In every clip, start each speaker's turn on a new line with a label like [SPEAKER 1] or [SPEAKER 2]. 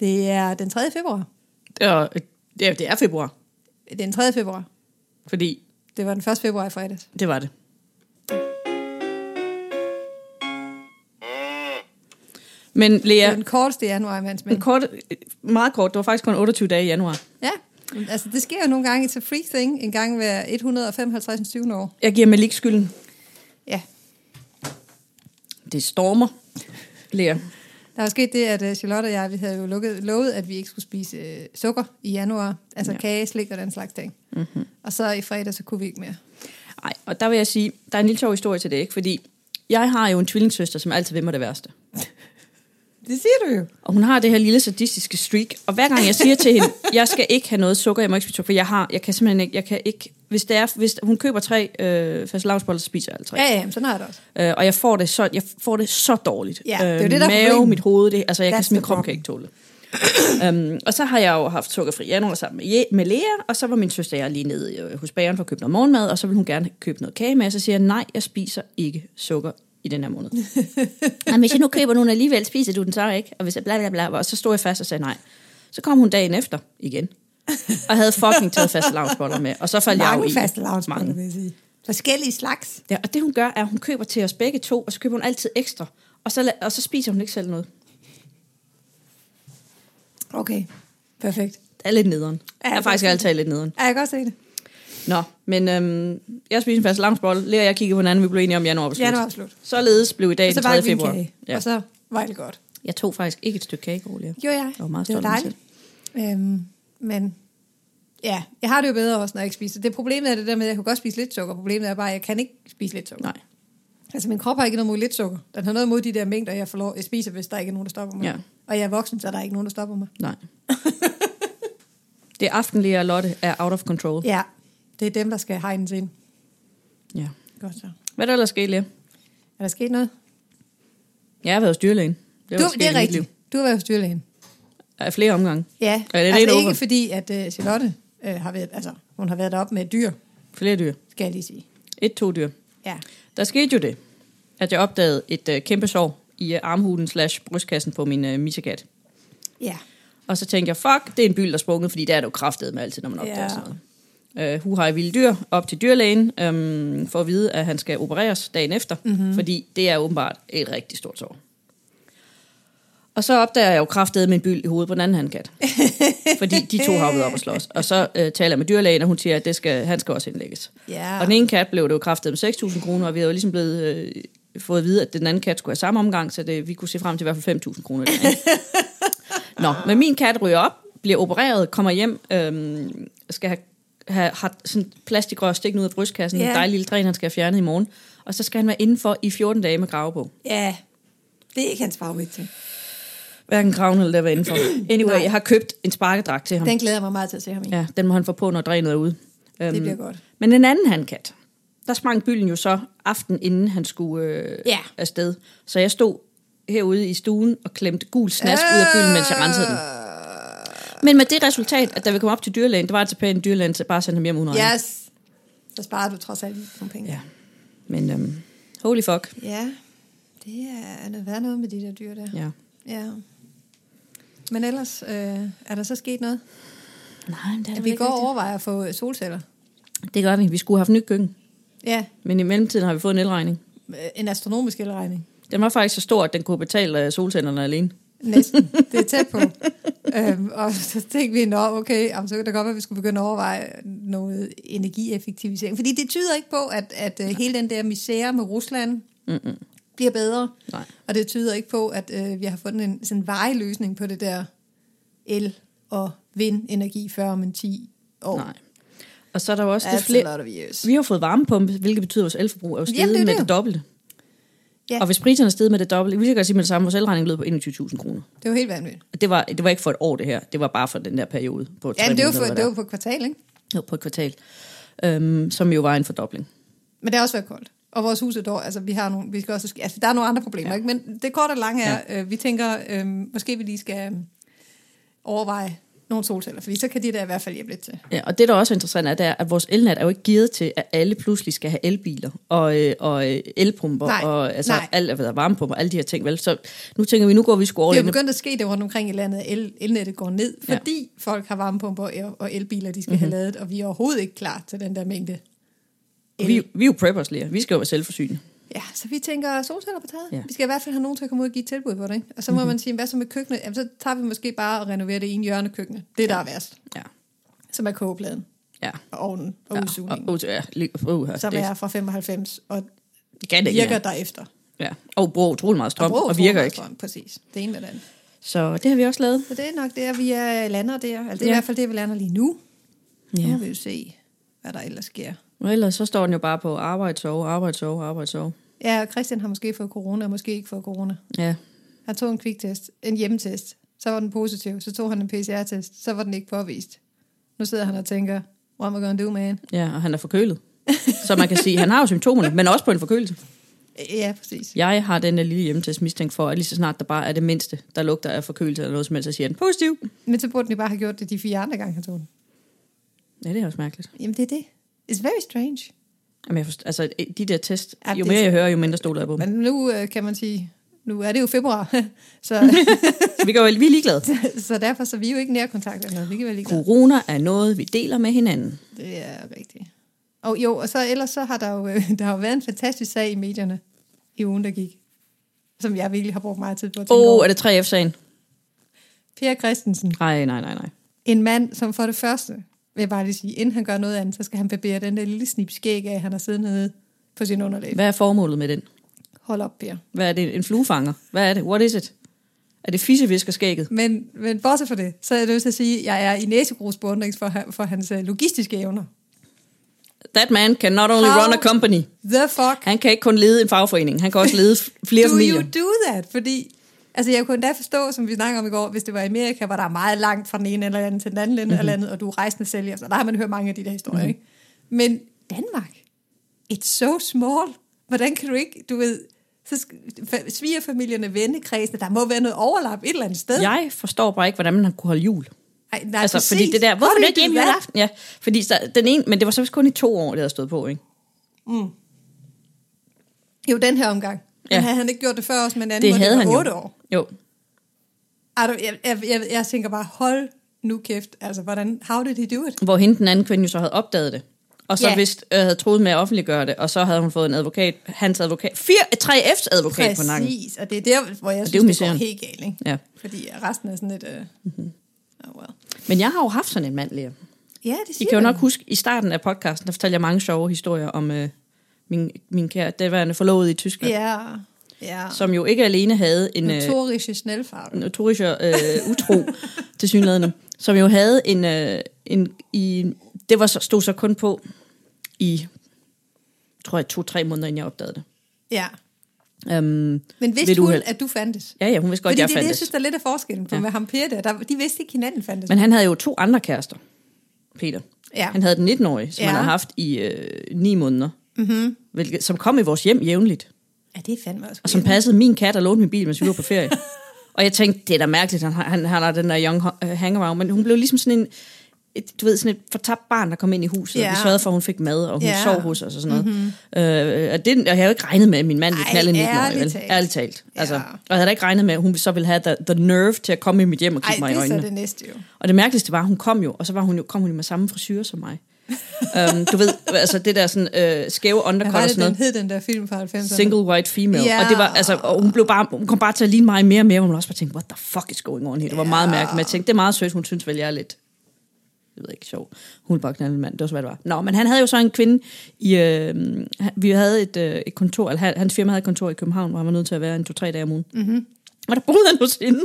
[SPEAKER 1] Det er den 3. februar.
[SPEAKER 2] Og, ja, det er februar,
[SPEAKER 1] Den 3. februar.
[SPEAKER 2] fordi
[SPEAKER 1] Det var den 1. februar i fredags.
[SPEAKER 2] det var det. Men
[SPEAKER 1] Ja.
[SPEAKER 2] Lea,
[SPEAKER 1] Den korteste januar, mens
[SPEAKER 2] en
[SPEAKER 1] men...
[SPEAKER 2] kort, meget kort, det var faktisk kun 28 dage i januar.
[SPEAKER 1] Ja, altså det sker jo nogle gange. It's a free thing. En gang hver 155. 20. år.
[SPEAKER 2] Jeg giver Malik skylden.
[SPEAKER 1] Ja,
[SPEAKER 2] Det stormer, Lea.
[SPEAKER 1] Der var sket det, at øh, Charlotte og jeg, vi havde jo lukket, lovet, at vi ikke skulle spise øh, sukker i januar. Altså ja. kage, slik og den slags ting. Mm-hmm. Og så i fredag, så kunne vi ikke mere.
[SPEAKER 2] Nej, og der vil jeg sige, der er en lille sjov historie til det, ikke? Fordi jeg har jo en tvillingssøster, som altid vil mig det værste.
[SPEAKER 1] Det siger du jo.
[SPEAKER 2] Og hun har det her lille sadistiske streak. Og hver gang jeg siger til hende, jeg skal ikke have noget sukker, jeg må ikke spise sukker, for jeg, har, jeg kan simpelthen ikke, jeg kan ikke, hvis, det er, hvis hun køber tre øh, fast så spiser jeg alle tre.
[SPEAKER 1] Ja, ja, men sådan har jeg det også.
[SPEAKER 2] Øh, og jeg får det så, jeg får det så dårligt. Øh,
[SPEAKER 1] Ja, det er jo det, der er
[SPEAKER 2] mave,
[SPEAKER 1] problemet.
[SPEAKER 2] mit hoved, det, altså jeg kan
[SPEAKER 1] That's
[SPEAKER 2] smide
[SPEAKER 1] the
[SPEAKER 2] krop kan ikke tåle det. øhm, og så har jeg jo haft sukkerfri januar sammen med, Je- med Lea, og så var min søster og jeg lige nede øh, hos bageren for at købe noget morgenmad, og så ville hun gerne købe noget kage med, og så siger jeg, nej, jeg spiser ikke sukker i den her måned. "Nej, Men hvis jeg nu køber nogen alligevel, spiser du den så ikke? Og, hvis jeg bla, bla, bla, og så stod jeg fast og sagde nej. Så kom hun dagen efter igen, og havde fucking taget fast med, og så faldt jeg jo i.
[SPEAKER 1] fastelavnsboller, vil jeg sige. Forskellige slags.
[SPEAKER 2] Ja, og det hun gør, er, at hun køber til os begge to, og så køber hun altid ekstra. Og så, la- og så spiser hun ikke selv noget.
[SPEAKER 1] Okay, perfekt.
[SPEAKER 2] Det er lidt nederen. Ja, jeg er
[SPEAKER 1] det
[SPEAKER 2] faktisk
[SPEAKER 1] er
[SPEAKER 2] altid lidt nederen.
[SPEAKER 1] Ja, jeg kan godt se det.
[SPEAKER 2] Nå, men øhm, jeg spiser en fast lamsbolle. Lea og jeg kiggede på hinanden, vi blev enige om januar var slut.
[SPEAKER 1] Januar var slut.
[SPEAKER 2] Således blev i dag
[SPEAKER 1] Og så
[SPEAKER 2] den
[SPEAKER 1] var
[SPEAKER 2] 3.
[SPEAKER 1] det min
[SPEAKER 2] februar.
[SPEAKER 1] kage,
[SPEAKER 2] Ja.
[SPEAKER 1] og så var det godt.
[SPEAKER 2] Jeg tog faktisk ikke et stykke kage i går, Lea.
[SPEAKER 1] Jo, ja,
[SPEAKER 2] var meget
[SPEAKER 1] det var
[SPEAKER 2] stolt af mig
[SPEAKER 1] dejligt. Øhm, men ja, jeg har det jo bedre også, når jeg ikke spiser. Det problemet er det der med, at jeg kunne godt spise lidt sukker. Problemet er bare, at jeg kan ikke spise lidt sukker.
[SPEAKER 2] Nej.
[SPEAKER 1] Altså, min krop har ikke noget mod lidt sukker. Den har noget mod de der mængder, jeg, får lov, jeg spiser, hvis der ikke er nogen, der stopper mig.
[SPEAKER 2] Ja.
[SPEAKER 1] Og jeg er voksen, så er der ikke nogen, der stopper mig.
[SPEAKER 2] Nej. det aften, Lea og Lotte er out of control.
[SPEAKER 1] Ja, det er dem, der skal hegnes ind.
[SPEAKER 2] Ja.
[SPEAKER 1] Godt så.
[SPEAKER 2] Hvad er der ellers sket, Lea?
[SPEAKER 1] Er der sket noget?
[SPEAKER 2] Jeg har været hos dyrlægen. Det, er,
[SPEAKER 1] du,
[SPEAKER 2] der sket
[SPEAKER 1] det
[SPEAKER 2] i
[SPEAKER 1] er
[SPEAKER 2] mit
[SPEAKER 1] rigtigt. Du har været hos dyrlægen.
[SPEAKER 2] Liv. Af flere omgange.
[SPEAKER 1] Ja,
[SPEAKER 2] Ja, det er lidt
[SPEAKER 1] altså
[SPEAKER 2] over.
[SPEAKER 1] ikke fordi, at uh, Charlotte uh, har været, altså, hun har været deroppe med et dyr,
[SPEAKER 2] Flere dyr.
[SPEAKER 1] skal jeg lige sige.
[SPEAKER 2] Et, to dyr.
[SPEAKER 1] Ja.
[SPEAKER 2] Der skete jo det, at jeg opdagede et øh, kæmpe sår i øh, armhulen slash brystkassen på min øh, missekat.
[SPEAKER 1] Ja.
[SPEAKER 2] Og så tænkte jeg, fuck, det er en byld, der er sprunget, fordi der er det jo kraftet med altid, når man opdager
[SPEAKER 1] Ja.
[SPEAKER 2] sådan noget. Øh, hu har jeg vilde dyr op til dyrlægen, øhm, for at vide, at han skal opereres dagen efter, mm-hmm. fordi det er åbenbart et rigtig stort sår. Og så opdager jeg jo kraftet med en byld i hovedet på den anden handkat. fordi de to har jo været op og slås. Og så øh, taler jeg med dyrlægen, og hun siger, at det skal, han skal også indlægges.
[SPEAKER 1] Ja.
[SPEAKER 2] Og den ene kat blev det jo kraftet med 6.000 kroner, og vi havde jo ligesom blevet, øh, fået at vide, at den anden kat skulle have samme omgang, så det, vi kunne se frem til i hvert fald 5.000 kroner. i dag, ikke? Nå, men min kat ryger op, bliver opereret, kommer hjem, øhm, skal have, have, have sådan plastikrør stikkende ud af brystkassen, yeah.
[SPEAKER 1] Ja.
[SPEAKER 2] en dejlig lille træn, han skal have fjernet i morgen. Og så skal han være indenfor i 14 dage med grave på.
[SPEAKER 1] Ja. Det er ikke hans favorit ting.
[SPEAKER 2] Hverken graven eller der var indenfor. Anyway,
[SPEAKER 1] Nej.
[SPEAKER 2] jeg har købt en sparkedragt til ham.
[SPEAKER 1] Den glæder jeg mig meget til at se ham i. Ja.
[SPEAKER 2] Ja, den må han få på, når drænet er ude. Øhm,
[SPEAKER 1] Det bliver godt.
[SPEAKER 2] Men en anden hankat, der sprang bylden jo så aften, inden han skulle øh,
[SPEAKER 1] Ja.
[SPEAKER 2] afsted. Så jeg stod herude i stuen og klemte gul snask ud af bylden, mens jeg rensede den. Men med det resultat, at da vi kom op til dyrlægen, det var altså pænt dyrlægen, så bare sendte ham hjem uden regning.
[SPEAKER 1] Øh, Yes. Så sparer du trods alt lige nogle penge.
[SPEAKER 2] Ja. Men øhm, holy fuck.
[SPEAKER 1] ja. Det er noget værd noget med de der dyr der.
[SPEAKER 2] Ja.
[SPEAKER 1] Ja. Men ellers, øh, er der så sket noget?
[SPEAKER 2] Nej, det,
[SPEAKER 1] At vi går overvejer at få øh, solceller.
[SPEAKER 2] det gør vi. Vi skulle have haft nyt køkken.
[SPEAKER 1] Ja,
[SPEAKER 2] Men i mellemtiden har vi fået en elregning.
[SPEAKER 1] øh, en astronomisk elregning.
[SPEAKER 2] Den var faktisk så stor, at den kunne betale øh, solcellerne alene.
[SPEAKER 1] Næsten. Det er tæt på. øhm, og så tænkte vi, nå okay, jamen, så kan det godt være, at vi skulle begynde at overveje noget energieffektivisering. Fordi det tyder ikke på, at, at øh, hele den der misære med Rusland Mm-mm. bliver bedre.
[SPEAKER 2] Nej.
[SPEAKER 1] Og det tyder ikke på, at øh, vi har fundet en sådan varig løsning på det der el- og vindenergi før om en 10 år.
[SPEAKER 2] Nej. Og så er der jo også det
[SPEAKER 1] That's
[SPEAKER 2] flere...
[SPEAKER 1] a lot of years.
[SPEAKER 2] Vi har fået varmepumpe, hvilket betyder, at vores elforbrug er jo steget
[SPEAKER 1] Jamen, det er
[SPEAKER 2] med
[SPEAKER 1] det.
[SPEAKER 2] det dobbelte.
[SPEAKER 1] Ja.
[SPEAKER 2] Og hvis priserne er steget med det dobbelte, vi kan godt sige med det samme, vores elregning lød på 21.000 kroner.
[SPEAKER 1] Det var helt vanvittigt.
[SPEAKER 2] Og Det var, det var ikke for et år, det her. Det var bare for den der periode. På tre
[SPEAKER 1] Ja, men det var,
[SPEAKER 2] måneder,
[SPEAKER 1] for,
[SPEAKER 2] eller
[SPEAKER 1] det
[SPEAKER 2] hvad
[SPEAKER 1] var på et kvartal, ikke?
[SPEAKER 2] det var på et kvartal. Øhm, som jo var en fordobling.
[SPEAKER 1] Men det har også været koldt. Og vores hus er dår, altså vi har nogle, vi skal også, altså, der er nogle andre problemer, ja. ikke? øhm, Men det korte og lange er, ja. øh, vi tænker, øh, måske vi lige skal øh, overveje nogle solceller, fordi så kan de der i hvert fald hjælpe lidt til.
[SPEAKER 2] Ja, og det, der også er interessant, er, det er, at vores elnet er jo ikke givet til, at alle pludselig skal have elbiler og, øh, og øh, elpumper
[SPEAKER 1] Nej,
[SPEAKER 2] og altså,
[SPEAKER 1] nej.
[SPEAKER 2] alt, hvad der er varmepumper og alle de her ting. Vel? Så nu tænker vi, nu går vi sgu over
[SPEAKER 1] Det er jo
[SPEAKER 2] in the-
[SPEAKER 1] begyndt at ske det rundt omkring i landet, at el- elnettet går ned,
[SPEAKER 2] Ja. Mhm.
[SPEAKER 1] fordi folk har varmepumper og el- og elbiler, de skal mm-hmm. have ladet, og vi er overhovedet ikke klar til den der mængde. el.
[SPEAKER 2] Vi, vi er jo preppers, Lea. Vi skal jo være selvforsynende.
[SPEAKER 1] Ja, så vi tænker solceller på taget.
[SPEAKER 2] Ja. Mhm.
[SPEAKER 1] Ja. Vi skal i hvert fald have nogen til at komme ud og give et tilbud på det. Ikke? Og så må mm-hmm. man sige, hvad så med køkkenet? Jamen, så tager vi måske bare og renoverer det ene hjørne af køkkenet. Det, der er værst.
[SPEAKER 2] Ja.
[SPEAKER 1] Som er kogepladen
[SPEAKER 2] Ja.
[SPEAKER 1] og ovnen og
[SPEAKER 2] ja.
[SPEAKER 1] ja.
[SPEAKER 2] Og,
[SPEAKER 1] udsugningen.
[SPEAKER 2] og, ja, lige- uh, det,
[SPEAKER 1] Som er fra 95 og
[SPEAKER 2] det kan det ikke.
[SPEAKER 1] virker
[SPEAKER 2] mere. derefter.
[SPEAKER 1] derefter.
[SPEAKER 2] Ja. Og bruger utrolig meget strøm, og,
[SPEAKER 1] bruger
[SPEAKER 2] og
[SPEAKER 1] utrolig
[SPEAKER 2] virker
[SPEAKER 1] meget
[SPEAKER 2] ikke.
[SPEAKER 1] strøm, Præcis. Det ene med det andet.
[SPEAKER 2] Så det har vi også lavet.
[SPEAKER 1] Så det er nok der, vi er lander der. Altså, det er
[SPEAKER 2] Ja.
[SPEAKER 1] i hvert fald det, vi lander lige nu. Ja. Nu
[SPEAKER 2] Ja.
[SPEAKER 1] vil vi jo se, hvad der ellers sker.
[SPEAKER 2] Og ellers så står den jo bare på arbejde, sove, arbejde, sove, arbejde, sove.
[SPEAKER 1] Ja, og Christian har måske fået corona, og måske ikke fået corona.
[SPEAKER 2] Ja.
[SPEAKER 1] Han tog en kviktest, en hjemmetest. Så var den positiv, så tog han en PCR-test, så var den ikke påvist. Nu sidder han og tænker, what am I gonna do, man?
[SPEAKER 2] ja, og han er forkølet. så man kan sige, han har jo symptomerne, men også på en forkølelse.
[SPEAKER 1] Ja, præcis.
[SPEAKER 2] Jeg har den der lille hjemmetest mistænkt for, at lige så snart der bare er det mindste, der lugter af forkølelse eller noget som helst, så siger den positiv.
[SPEAKER 1] Men så burde den jo bare have gjort det de fire andre gange, han tog den.
[SPEAKER 2] Ja, det er også mærkeligt.
[SPEAKER 1] Jamen, det er det. It's very strange.
[SPEAKER 2] Jamen, jeg forstår, altså, de der test,
[SPEAKER 1] Ja,
[SPEAKER 2] jo
[SPEAKER 1] det-
[SPEAKER 2] mere jeg hører, jo mindre stoler jeg på dem.
[SPEAKER 1] Men nu øh, kan man sige, nu er det jo februar, så,
[SPEAKER 2] Så vi, går, jo- vi er ligeglade.
[SPEAKER 1] så derfor så er vi jo ikke nærkontakt eller noget. Vi kan vel ikke
[SPEAKER 2] Corona er noget, vi deler med hinanden.
[SPEAKER 1] Det er rigtigt. Og jo, og så ellers så har der jo, øh, der har jo været en fantastisk sag i medierne i ugen, der gik. Som jeg virkelig har brugt meget tid på at tænke
[SPEAKER 2] Åh, oh,
[SPEAKER 1] over.
[SPEAKER 2] er det 3F-sagen?
[SPEAKER 1] Per Christensen,
[SPEAKER 2] Nej, nej, nej, nej.
[SPEAKER 1] en mand, som for det første, vil jeg bare lige sige, inden han gør noget andet, så skal han barbere den der lille snip skæg af, han har siddet nede på sin underlæg.
[SPEAKER 2] Hvad er formålet med den?
[SPEAKER 1] Hold op, Per.
[SPEAKER 2] Hvad er det? En fluefanger? Hvad er det? What is it? Er det fiskeviskerskægget?
[SPEAKER 1] Men, men bortset fra det, så er jeg nødt til at sige, at jeg er i næsegrus beundring for, ha- for hans øh, logistiske evner.
[SPEAKER 2] That man can not only
[SPEAKER 1] How-
[SPEAKER 2] run a company.
[SPEAKER 1] The fuck
[SPEAKER 2] Han kan ikke kun lede en fagforening. Han kan også lede f- flere
[SPEAKER 1] do
[SPEAKER 2] familier.
[SPEAKER 1] you do that? Fordi, altså jeg kunne endda forstå, som vi snakkede om i går, hvis det var i Amerika, hvor der er meget langt fra den ene eller anden til den anden
[SPEAKER 2] Mhm.
[SPEAKER 1] mm-hmm. eller andet, og du er rejsende sælger, så der har man hørt mange af de der historier, mm-hmm. ikke? Men Danmark, it's so small. Hvordan kan du ikke, du ved, så sk- fa- svigerfamilierne, vennekredsene, der må være noget overlap et eller andet sted.
[SPEAKER 2] Jeg forstår bare ikke, hvordan man kunne holde jul.
[SPEAKER 1] Ej, nej,
[SPEAKER 2] Altså,
[SPEAKER 1] præcis.
[SPEAKER 2] fordi det der, hvorfor
[SPEAKER 1] How
[SPEAKER 2] er
[SPEAKER 1] do
[SPEAKER 2] du
[SPEAKER 1] you
[SPEAKER 2] ikke
[SPEAKER 1] do
[SPEAKER 2] hjemme
[SPEAKER 1] that?
[SPEAKER 2] juleaften? Ja, fordi så, den ene, men det var så vist kun i to år, det havde stået på, ikke?
[SPEAKER 1] Jo, den her omgang. Men
[SPEAKER 2] Ja.
[SPEAKER 1] havde han ikke gjort det før også, men anden
[SPEAKER 2] Det
[SPEAKER 1] måde,
[SPEAKER 2] havde
[SPEAKER 1] var
[SPEAKER 2] han jo.
[SPEAKER 1] otte år.
[SPEAKER 2] Jo.
[SPEAKER 1] Ej, du, jeg, jeg, jeg, jeg, tænker bare, hold nu kæft. Altså, hvordan, how did he do it?
[SPEAKER 2] Hvor hende den anden kvinde jo så havde opdaget det. Og så
[SPEAKER 1] Ja.
[SPEAKER 2] vidst, øh, havde troet med at offentliggøre det, og så havde hun fået en advokat, hans advokat, 3F's advokat på nakken.
[SPEAKER 1] Præcis, og det er der, hvor jeg
[SPEAKER 2] er
[SPEAKER 1] synes,
[SPEAKER 2] jo
[SPEAKER 1] det, det går
[SPEAKER 2] miseren.
[SPEAKER 1] helt galt. Ikke?
[SPEAKER 2] Ja.
[SPEAKER 1] Fordi resten er sådan lidt... Uh... Mm-hmm. Oh, well.
[SPEAKER 2] Men jeg har jo haft sådan en mand, Lea.
[SPEAKER 1] Ja, det
[SPEAKER 2] I
[SPEAKER 1] siger
[SPEAKER 2] kan jo
[SPEAKER 1] man.
[SPEAKER 2] nok huske, i starten af podcasten, der fortalte jeg mange sjove historier om øh, min, min kære daværende forlovede i Tyskland,
[SPEAKER 1] Ja, ja. Så,
[SPEAKER 2] som jo ikke alene havde en... øh,
[SPEAKER 1] Notorische snellfart.
[SPEAKER 2] notorischer øh, utro til synlædende, som jo havde en, øh, en i, det var, så- stod så kun på i, tror jeg, to-tre måneder, inden jeg opdagede det.
[SPEAKER 1] Ja.
[SPEAKER 2] Um,
[SPEAKER 1] Men vidste
[SPEAKER 2] Vil du
[SPEAKER 1] hun,
[SPEAKER 2] hel-
[SPEAKER 1] at du fandtes?
[SPEAKER 2] ja, ja, hun vidste godt,
[SPEAKER 1] Fordi
[SPEAKER 2] jeg
[SPEAKER 1] det er det, jeg
[SPEAKER 2] fandtes.
[SPEAKER 1] synes, der er lidt af forskellen på
[SPEAKER 2] Ja.
[SPEAKER 1] ja. med ham Per der. der. De vidste ikke, hinanden fandtes.
[SPEAKER 2] Men han havde jo to andre kærester, Peter.
[SPEAKER 1] Ja.
[SPEAKER 2] Han havde den 19-årige, som
[SPEAKER 1] Ja. Mhm.
[SPEAKER 2] han havde haft i øh, ni måneder, mm-hmm. hvilket, som kom i vores hjem jævnligt,
[SPEAKER 1] ja, det er fandme også.
[SPEAKER 2] og som passede min kat og lånte min bil, mens vi var på ferie. og jeg tænkte, det er da mærkeligt, han har, han, han har den der young ho- øh, hangaround, men hun blev ligesom sådan en, et, du ved, sådan et fortabt barn, der kom ind i huset, og
[SPEAKER 1] Ja.
[SPEAKER 2] vi sørgede for, at hun fik mad, og hun
[SPEAKER 1] Ja. Mhm.
[SPEAKER 2] sov hos os og sådan noget. Mm-hmm. Øh, og, det, og jeg havde jo ikke regnet med, at min mand ville
[SPEAKER 1] Ej,
[SPEAKER 2] knalde en 19
[SPEAKER 1] ærligt
[SPEAKER 2] vel?
[SPEAKER 1] talt.
[SPEAKER 2] Ærligt talt. Altså,
[SPEAKER 1] Ja.
[SPEAKER 2] og jeg havde da ikke regnet med, at hun så ville have the, the nerve til at komme i mit hjem og
[SPEAKER 1] Ej,
[SPEAKER 2] kigge mig i
[SPEAKER 1] det er
[SPEAKER 2] øjnene.
[SPEAKER 1] så det næste jo.
[SPEAKER 2] Og det mærkeligste var, at hun kom jo, og så var hun jo, kom hun jo med samme frisyr som mig. um, du ved, altså det der sådan, øh, skæve
[SPEAKER 1] Hvad
[SPEAKER 2] undercut
[SPEAKER 1] var
[SPEAKER 2] og
[SPEAKER 1] det,
[SPEAKER 2] sådan
[SPEAKER 1] den
[SPEAKER 2] noget.
[SPEAKER 1] hed, den der film fra 90'erne?
[SPEAKER 2] Single white female.
[SPEAKER 1] Ja.
[SPEAKER 2] Og, det var, altså, og hun, blev bare, hun kom bare til at ligne mig mere og mere, og man også bare tænkte, what the fuck is going on her? Det var meget mærkeligt, men jeg tænkte, det er meget sødt, hun synes vel, jeg er lidt jeg ved ikke, sjov. Hun er bare knaldet en mand, det var så, hvad det var. Nå, men han havde jo så en kvinde i, øh, han- vi havde et, øh, et kontor, eller han- hans firma havde et kontor i København, hvor han var nødt til at være en to-tre dage om ugen. Mm-hmm. Og der boede han hos hende.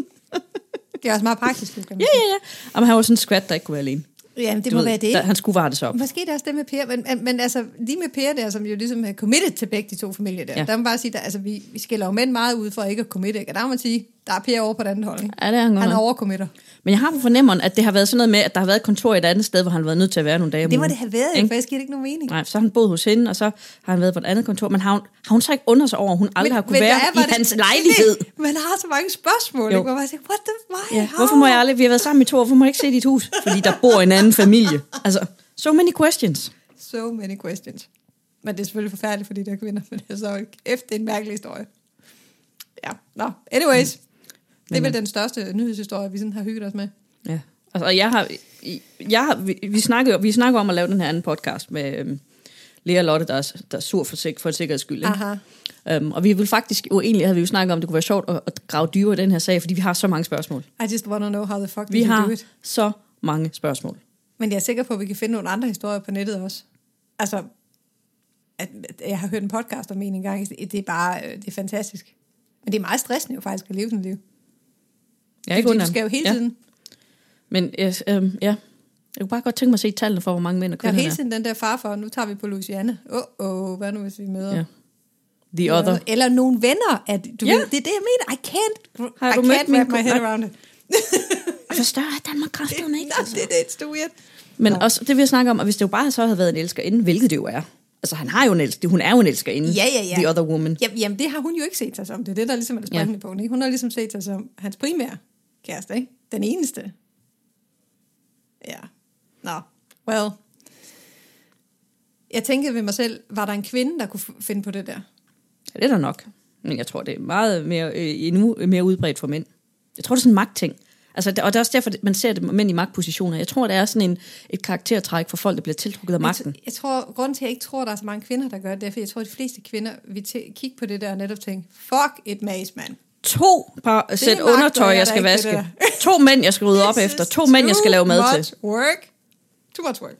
[SPEAKER 1] Det er også meget praktisk. jo, Kan man.
[SPEAKER 2] Ja, ja, ja. Og han var sådan en skvat, der ikke kunne være alene.
[SPEAKER 1] sige. Jamen, det
[SPEAKER 2] Du
[SPEAKER 1] må
[SPEAKER 2] ved,
[SPEAKER 1] være det.
[SPEAKER 2] Der, han skulle vare det så op.
[SPEAKER 1] Måske det er også det med Per, men, men, men altså, lige med Per der, som jo ligesom er committed til begge de to familier der,
[SPEAKER 2] Ja.
[SPEAKER 1] ja. der må man bare sige, der, altså, vi, vi skiller jo mænd meget ud for ikke at committe, ikke? og der må man sige, Der er Per over på den anden hold, ikke?
[SPEAKER 2] Ja, det er han godt
[SPEAKER 1] Han
[SPEAKER 2] nok.
[SPEAKER 1] overkommitter.
[SPEAKER 2] Men jeg har på fornemmeren, at det har været sådan noget med, at der har været et kontor et andet sted, hvor han har været nødt til at være nogle dage om
[SPEAKER 1] Det må
[SPEAKER 2] ugen.
[SPEAKER 1] det have været,
[SPEAKER 2] Ikke?
[SPEAKER 1] ikke? for ellers giver det ikke nogen mening.
[SPEAKER 2] Nej, så har han boet hos hende, og så har han været på et andet kontor. Men har hun, har hun så ikke undret sig over, at hun aldrig har kunne
[SPEAKER 1] der
[SPEAKER 2] være
[SPEAKER 1] er
[SPEAKER 2] i
[SPEAKER 1] bare det-
[SPEAKER 2] hans
[SPEAKER 1] det er
[SPEAKER 2] lejlighed?
[SPEAKER 1] Det, man har så mange spørgsmål,
[SPEAKER 2] Jo.
[SPEAKER 1] ikke? Hvor man siger, what the, why,
[SPEAKER 2] Ja.
[SPEAKER 1] how?
[SPEAKER 2] Hvorfor må jeg aldrig... Vi har været sammen i to år, hvorfor må jeg ikke se dit hus? Fordi der bor en anden familie. Altså, so many questions.
[SPEAKER 1] So many questions. Men det er selvfølgelig forfærdeligt for de der kvinder, men altså, det er så efter en mærkelig historie. Ja, nå.
[SPEAKER 2] Mm.
[SPEAKER 1] Anyways. Det er
[SPEAKER 2] øh,
[SPEAKER 1] vel den største nyhedshistorie, vi sådan har hygget os med.
[SPEAKER 2] Ja. Altså, og jeg har, i- jeg har, vi, vi, snakker, vi snakker om at lave den her anden podcast med øhm, Lea og Lotte, der er, der er sur for, sik, for en sikkerheds skyld. ikke?
[SPEAKER 1] Aha. Ah.
[SPEAKER 2] Øhm, og vi vil faktisk, jo egentlig havde vi jo snakket om, at det kunne være sjovt at, at grave dybere i den her sag, fordi vi har så mange spørgsmål.
[SPEAKER 1] I just want to know how the fuck
[SPEAKER 2] Vi
[SPEAKER 1] we do
[SPEAKER 2] har
[SPEAKER 1] it.
[SPEAKER 2] så mange spørgsmål.
[SPEAKER 1] Men jeg er sikker på, at vi kan finde nogle andre historier på nettet også. Altså, at, at jeg har hørt en podcast om en engang. Det er bare, øh, det er fantastisk. Men det er meget stressende jo faktisk at leve sådan et liv.
[SPEAKER 2] Ja,
[SPEAKER 1] Fordi du skal jo hele
[SPEAKER 2] ja.
[SPEAKER 1] tiden,
[SPEAKER 2] Men yes, øhm, ja, jeg kunne bare godt tænke mig at se tallene for, hvor mange mænd og
[SPEAKER 1] ja,
[SPEAKER 2] kvinder
[SPEAKER 1] hele
[SPEAKER 2] der
[SPEAKER 1] tiden den der far for, nu tager vi på Louisiana. Åh, oh, oh, hvad nu hvis vi møder?
[SPEAKER 2] er. Ja. The other.
[SPEAKER 1] Eller nogle venner. At, du
[SPEAKER 2] Ja.
[SPEAKER 1] ja. ved, det er det, jeg mener. I can't,
[SPEAKER 2] Har
[SPEAKER 1] I
[SPEAKER 2] du mødt
[SPEAKER 1] can't
[SPEAKER 2] min
[SPEAKER 1] wrap my head
[SPEAKER 2] kone?
[SPEAKER 1] around it.
[SPEAKER 2] Forstår jeg, Danmark kræfterne ikke?
[SPEAKER 1] Nå, det, det, it's too weird.
[SPEAKER 2] Men også det, vi har snakket om, at hvis det jo bare så havde været en elskerinde, hvilket det jo er. Altså, han har jo en elsker, hun er jo en elskerinde.
[SPEAKER 1] Ja, ja, ja.
[SPEAKER 2] The other woman.
[SPEAKER 1] Jamen, jamen, det har hun jo ikke set sig som. Det er det, der ligesom er det
[SPEAKER 2] Ja.
[SPEAKER 1] springende ja. punkt. Ikke? Hun har ligesom set sig som hans primære kæreste, ikke? Den eneste. Ja. Nå, well. Jeg tænkte ved mig selv, var der en kvinde, der kunne f- finde på det der?
[SPEAKER 2] Ja, det er der nok. Men jeg tror, det er meget mere, øh, endnu mere udbredt for mænd. Jeg tror, det er sådan en magtting. Altså, og det er også derfor, man ser det, mænd i magtpositioner. Jeg tror, det er sådan en, et karaktertræk for folk, der bliver tiltrukket af magten.
[SPEAKER 1] Jeg tror, grunden til, at jeg ikke tror, der er så mange kvinder, der gør det, er, fordi jeg tror, at de fleste kvinder vil tæ- kigge på det der og netop tænke, fuck et mas, mand.
[SPEAKER 2] To par sæt
[SPEAKER 1] magt,
[SPEAKER 2] undertøj,
[SPEAKER 1] der er
[SPEAKER 2] jeg
[SPEAKER 1] der
[SPEAKER 2] skal
[SPEAKER 1] ikke, det
[SPEAKER 2] vaske. To mænd, jeg skal rydde op
[SPEAKER 1] This
[SPEAKER 2] efter.
[SPEAKER 1] is
[SPEAKER 2] To mænd, jeg skal
[SPEAKER 1] too
[SPEAKER 2] lave mad
[SPEAKER 1] much
[SPEAKER 2] til.
[SPEAKER 1] work. Too much work.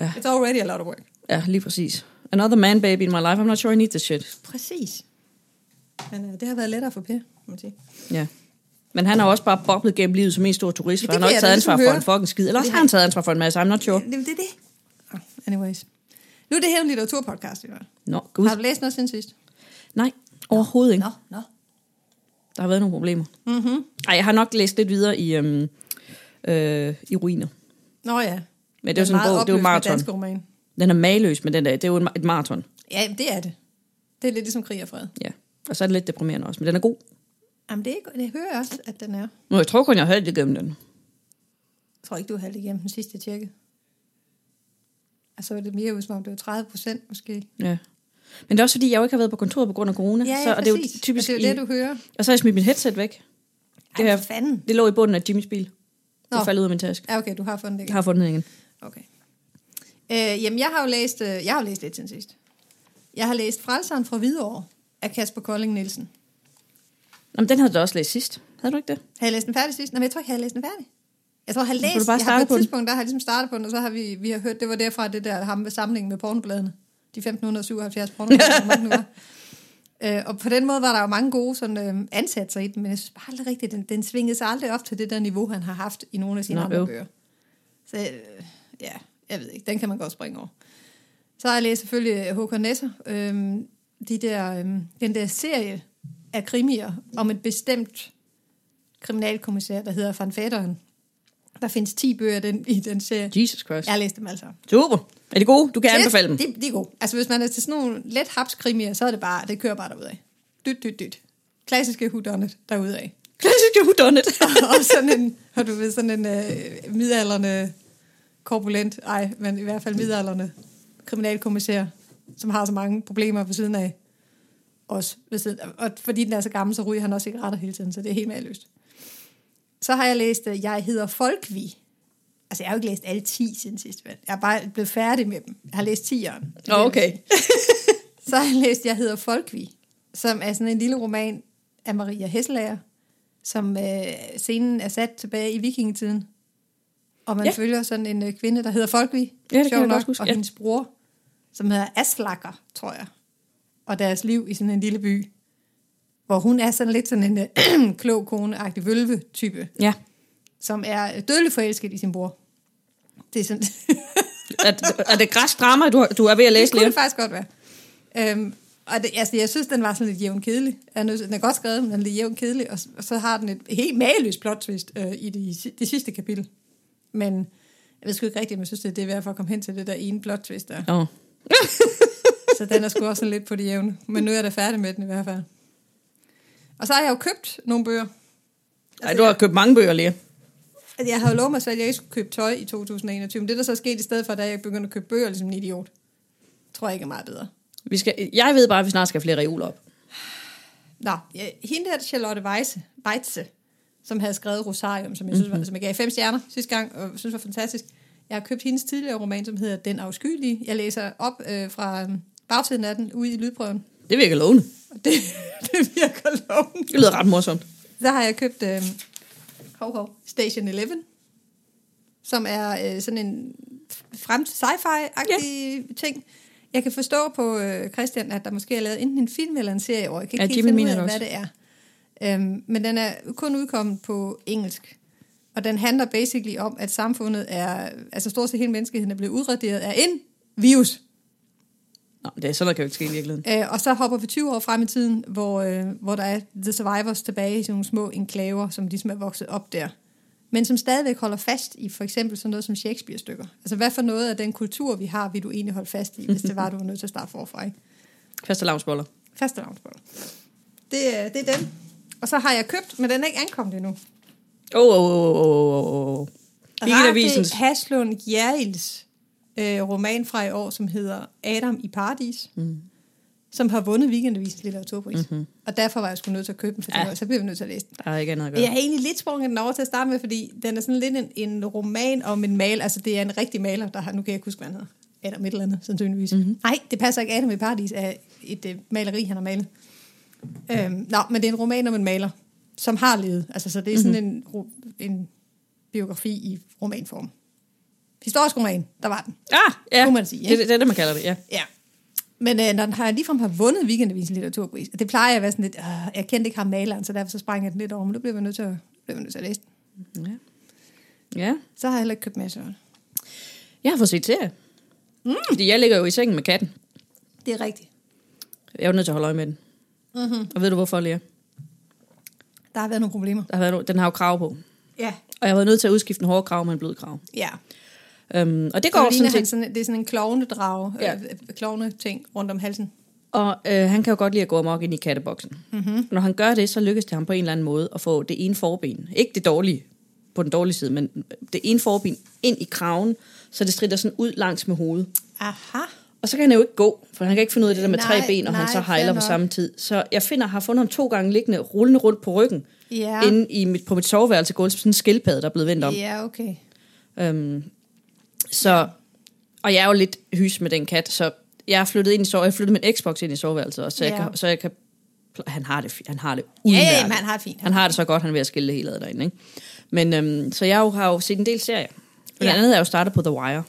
[SPEAKER 2] Ja.
[SPEAKER 1] It's already a lot of work.
[SPEAKER 2] Ja, lige præcis. Another man baby in my life. I'm not sure I need this shit.
[SPEAKER 1] Præcis. Men øh, det har været lettere for Per, må man sige.
[SPEAKER 2] Ja. Men han har også bare boblet gennem livet som en stor turist,
[SPEAKER 1] Ja,
[SPEAKER 2] for
[SPEAKER 1] det
[SPEAKER 2] han har
[SPEAKER 1] kan
[SPEAKER 2] ikke
[SPEAKER 1] jeg
[SPEAKER 2] taget
[SPEAKER 1] da ligesom
[SPEAKER 2] ansvar for en
[SPEAKER 1] høre.
[SPEAKER 2] fucking skid. Eller også
[SPEAKER 1] Det
[SPEAKER 2] har han taget ansvar for en masse, I'm not sure.
[SPEAKER 1] Det, det er det. Oh, anyways. Nu er det her en litteraturpodcast, i hvert fald.
[SPEAKER 2] Nå, gud.
[SPEAKER 1] Har du læst noget siden sidst?
[SPEAKER 2] Nej, overhovedet ikke.
[SPEAKER 1] nå.
[SPEAKER 2] Der har været nogle problemer. Mm-hmm. Ej, jeg har nok læst lidt videre i, øhm, øh, i ruiner.
[SPEAKER 1] Nå ja.
[SPEAKER 2] Men det er jo sådan en bog, det er jo maraton.
[SPEAKER 1] Dansk roman.
[SPEAKER 2] Den er mageløs, men den der, det er jo en ma- et maraton.
[SPEAKER 1] Ja, jamen, det er det. Det er lidt ligesom krig og fred.
[SPEAKER 2] Ja. Og så er det lidt deprimerende også, men den er god.
[SPEAKER 1] Jamen, det, er, ikke- det hører jeg også, at den er.
[SPEAKER 2] Nå, jeg tror kun, jeg har hørt igennem den.
[SPEAKER 1] Jeg tror ikke, du har halvt igennem den sidste jeg tjekkede. Og Altså, så er det mere ud som om, det var 30 procent måske.
[SPEAKER 2] Ja. Men det er også fordi, jeg jo ikke har været på kontoret på grund af corona.
[SPEAKER 1] Ja, ja,
[SPEAKER 2] så, og det er jo
[SPEAKER 1] præcis.
[SPEAKER 2] typisk
[SPEAKER 1] Og det er jo
[SPEAKER 2] i-
[SPEAKER 1] det, du hører.
[SPEAKER 2] Og så har jeg smidt mit headset væk.
[SPEAKER 1] Ej,
[SPEAKER 2] her-
[SPEAKER 1] for fanden.
[SPEAKER 2] det lå i bunden af Jimmys bil. Nå.
[SPEAKER 1] Nå.
[SPEAKER 2] Det faldt ud af min taske.
[SPEAKER 1] Ja, okay, du har fundet det
[SPEAKER 2] Jeg
[SPEAKER 1] igen.
[SPEAKER 2] har fundet den igen.
[SPEAKER 1] Okay. Øh, jamen, jeg har jo læst, øh, jeg har jo læst lidt siden sidst. Jeg har læst Frelseren fra Hvidovre af Kasper Kolding Nielsen.
[SPEAKER 2] Jamen, den havde du også læst sidst. Havde du ikke det?
[SPEAKER 1] Har jeg læst den færdig sidst? Nej, men jeg tror ikke, jeg har læst den færdig. Jeg tror, jeg har
[SPEAKER 2] Så får du
[SPEAKER 1] læst,
[SPEAKER 2] bare
[SPEAKER 1] jeg
[SPEAKER 2] starte
[SPEAKER 1] har
[SPEAKER 2] på
[SPEAKER 1] på
[SPEAKER 2] den.
[SPEAKER 1] et tidspunkt, der har jeg ligesom startet på den, og så har vi, vi har hørt, det var derfra det der ham med samlingen med pornobladene. De 1577 pornobladene. hvor mange nu var. Øh, og på den måde var der jo mange gode sådan, øh, ansatser i den, men jeg synes bare aldrig rigtigt, den, den svingede sig aldrig op til det der niveau, han har haft i nogle af sine
[SPEAKER 2] Nå,
[SPEAKER 1] Nå, andre
[SPEAKER 2] øv.
[SPEAKER 1] øv. bøger. Så øh, ja, jeg ved ikke, den kan man godt springe over. Så har jeg læst selvfølgelig H.K. Nesser, øhm, de der, øhm, den der serie af krimier om et bestemt kriminalkommissær, der hedder Van Fætteren. Der findes 10 bøger i den, i den serie.
[SPEAKER 2] Jesus Christ.
[SPEAKER 1] Jeg har læst dem altså. alle sammen.
[SPEAKER 2] Super. Er det gode? Du kan anbefale dem.
[SPEAKER 1] Det, det, det er godt. Altså, hvis man er til sådan nogle let hapskrimier, så er det bare, det kører bare derudad. Dyt, dyt, dyt. Klassiske whodunit derudad.
[SPEAKER 2] Klassisk whodunit.
[SPEAKER 1] og sådan en, har du ved, sådan en øh, midalderne korpulent, ej, men i hvert fald midalderne kriminalkommissær, som har så mange problemer ved siden af os. Ved siden, og fordi den er så gammel, så ryger han også cigaretter hele tiden, så det er helt maløst. Så har jeg læst, øh, jeg hedder Folkvi. Altså, jeg har jo ikke læst alle 10 siden sidst, vel? Jeg er bare blevet færdig med dem. Jeg har læst 10'eren.
[SPEAKER 2] Nå, okay.
[SPEAKER 1] Så har jeg læst, jeg hedder Folkvi, som er sådan en lille roman af Maria Hesselager, som øh, scenen er sat tilbage i vikingetiden. Og man
[SPEAKER 2] Ja.
[SPEAKER 1] ja. følger sådan en øh, kvinde, der hedder Folkvi,
[SPEAKER 2] Ja, det kan
[SPEAKER 1] sjovt
[SPEAKER 2] jeg godt
[SPEAKER 1] nok,
[SPEAKER 2] huske,
[SPEAKER 1] og
[SPEAKER 2] ja.
[SPEAKER 1] hendes bror, som hedder Aslakker, tror jeg. Og deres liv i sådan en lille by, hvor hun er sådan lidt sådan en øh, klog kone-agtig vølve-type,
[SPEAKER 2] ja.
[SPEAKER 1] som er øh, dødelig forelsket i sin bror. Det er sådan,
[SPEAKER 2] Er, er det græsdrama, du, har- du er ved at læse
[SPEAKER 1] det kunne
[SPEAKER 2] lige?
[SPEAKER 1] det faktisk godt være. Øhm, og det, altså, jeg synes, den var sådan lidt jævn kedelig. Jeg er nødt til- Den er godt skrevet, men den er lidt jævn kedelig. Og, s- og så har den et helt mageløst plot twist øh, i det, si- det sidste kapitel. Men jeg ved sgu ikke rigtigt, om jeg synes, det er det værd for at komme hen til det der ene plot twist der.
[SPEAKER 2] Åh.
[SPEAKER 1] Så den er sgu også sådan lidt på det jævne. Men nu er jeg da færdig med den i hvert fald. Og så har jeg jo købt nogle bøger.
[SPEAKER 2] Ej, du har købt mange bøger, Lea.
[SPEAKER 1] Altså, Jeg havde lovet mig selv, at jeg ikke skulle købe tøj i 2021. Men det, der så er sket i stedet for, da jeg begyndte at købe bøger, ligesom en idiot, tror jeg ikke er meget bedre.
[SPEAKER 2] Vi skal, jeg ved bare, at vi snart skal have flere reoler op.
[SPEAKER 1] Nå, ja, hende der Charlotte Weisse, Weitze, som havde skrevet Rosarium, som jeg, synes, var, som jeg gav fem stjerner sidste gang, og synes var fantastisk. Jeg har købt hendes tidligere roman, som hedder Den Afskyelige. Jeg læser op øh, fra øh, bagsiden af den ude i lydprøven.
[SPEAKER 2] Det virker lovende.
[SPEAKER 1] Og det, det virker lovende.
[SPEAKER 2] Det lyder ret morsomt.
[SPEAKER 1] Der har jeg købt øh, hov, hov, Station 11, som er øh, sådan en frem sci-fi-agtig ja. ting. Jeg kan forstå på øh, Christian, at der måske er lavet enten en film eller en serie over. Jeg kan
[SPEAKER 2] Ja,
[SPEAKER 1] ikke
[SPEAKER 2] Jimmy
[SPEAKER 1] helt finde ud
[SPEAKER 2] mener
[SPEAKER 1] af,
[SPEAKER 2] det
[SPEAKER 1] hvad det er. Øhm, men den er kun udkommet på engelsk. Og den handler basically om, at samfundet er, altså stort set hele menneskeheden er blevet udraderet af en virus.
[SPEAKER 2] Nå, det er sådan noget kan jo ikke ske i virkeligheden.
[SPEAKER 1] Øh, og så hopper vi 20 år frem i tiden, hvor, øh, hvor der er The Survivors tilbage i sådan nogle små enklaver, som ligesom er vokset op der. Men som stadigvæk holder fast i for eksempel sådan noget som Shakespeare-stykker. Altså hvad for noget af den kultur, vi har, vil du egentlig holde fast i, hvis det var, du var nødt til at starte forfra, ikke?
[SPEAKER 2] Faste lavnsboller.
[SPEAKER 1] Faste Det, er- det er den. Og så har jeg købt, men den er ikke ankommet endnu.
[SPEAKER 2] Åh, oh, åh, oh, åh, oh, åh, oh, åh. Weekendavisens.
[SPEAKER 1] Rake Haslund Gjerils øh, roman fra i år, som hedder Adam i Paradis, mm. som har vundet Weekendavisens litteraturpris. Mm-hmm. Og derfor var jeg sgu nødt til at købe den, for
[SPEAKER 2] Ja.
[SPEAKER 1] ja. så blev jeg nødt til at læse den.
[SPEAKER 2] Der er ikke andet at
[SPEAKER 1] Jeg
[SPEAKER 2] gøre.
[SPEAKER 1] har egentlig lidt sprunget den over til at starte med, fordi den er sådan lidt en, en roman om en maler. Altså, det er en rigtig maler, der har... Nu kan jeg ikke huske, hvad han hedder. Adam et eller andet, sandsynligvis. Mm-hmm. Nej, det passer ikke. Adam i Paradis er et øh, maleri, han har malet. Øhm, nå, men det er en roman om en maler, som har levet. Altså, så det er sådan mm-hmm. en, ro- en biografi i romanform. Historisk roman, der var den.
[SPEAKER 2] Ah, ja.
[SPEAKER 1] Kunne man sige,
[SPEAKER 2] det, det, det er det, man kalder det, ja.
[SPEAKER 1] Ja. Men øh, når den har ligefrem har vundet Weekendavisens litteraturpris, det plejer jeg at være sådan lidt, øh, jeg kendte ikke ham maleren, så derfor så sprang jeg den lidt over, men nu bliver jeg nødt til at, bliver jeg nødt til at læse den.
[SPEAKER 2] Ja. ja.
[SPEAKER 1] Så har jeg heller ikke købt masser af det.
[SPEAKER 2] Jeg har fået set serie. Mm. Fordi jeg ligger jo i sengen med katten.
[SPEAKER 1] Det er rigtigt.
[SPEAKER 2] Jeg er jo nødt til at holde øje med den. Mm-hmm. Og ved du hvorfor, Lea?
[SPEAKER 1] Der har været nogle problemer.
[SPEAKER 2] Der har været, no- den har jo krav på.
[SPEAKER 1] Ja.
[SPEAKER 2] Og jeg har været nødt til at udskifte en hård krav med en blød krav.
[SPEAKER 1] Ja.
[SPEAKER 2] Øhm, og det
[SPEAKER 1] Det, går
[SPEAKER 2] går
[SPEAKER 1] ligner,
[SPEAKER 2] sådan
[SPEAKER 1] sådan,
[SPEAKER 2] set.
[SPEAKER 1] sådan, det er sådan en klovnedrage, ja.
[SPEAKER 2] Ja.
[SPEAKER 1] øh, klovne-ting rundt om halsen.
[SPEAKER 2] Og øh, han kan jo godt lide at gå amok ind i katteboksen. Mm-hmm. Når han gør det, så lykkes det ham på en eller anden måde at få det ene forben. Ikke det dårlige på den dårlige side, men det ene forben ind i kraven, så det strider sådan ud langs med hovedet.
[SPEAKER 1] Aha.
[SPEAKER 2] Og så kan han jo ikke gå, for han kan ikke finde ud af det der med
[SPEAKER 1] Nej,
[SPEAKER 2] tre ben, og
[SPEAKER 1] nej,
[SPEAKER 2] han så
[SPEAKER 1] fair
[SPEAKER 2] hejler på
[SPEAKER 1] nok.
[SPEAKER 2] samme tid. Så jeg finder, har fundet ham to gange liggende, rullende rundt på ryggen,
[SPEAKER 1] Ja.
[SPEAKER 2] inde i mit, på mit soveværelse gulv, som sådan en skildpadde, der er blevet vendt om.
[SPEAKER 1] Ja, okay.
[SPEAKER 2] Øhm, så, og jeg er jo lidt hys med den kat, så jeg er flyttet ind i sove, jeg flyttede min Xbox ind i soveværelset også, så,
[SPEAKER 1] Ja.
[SPEAKER 2] jeg kan, så jeg kan, han har det, fi- han har det
[SPEAKER 1] ja,
[SPEAKER 2] udmærket.
[SPEAKER 1] men han har det fint.
[SPEAKER 2] Han har det så godt, han er ved at skille det hele ad derinde, ikke? Men, øhm, så jeg jo, har jo set en del serier. Blandt
[SPEAKER 1] Ja.
[SPEAKER 2] andet er jeg jo startet på The Wire.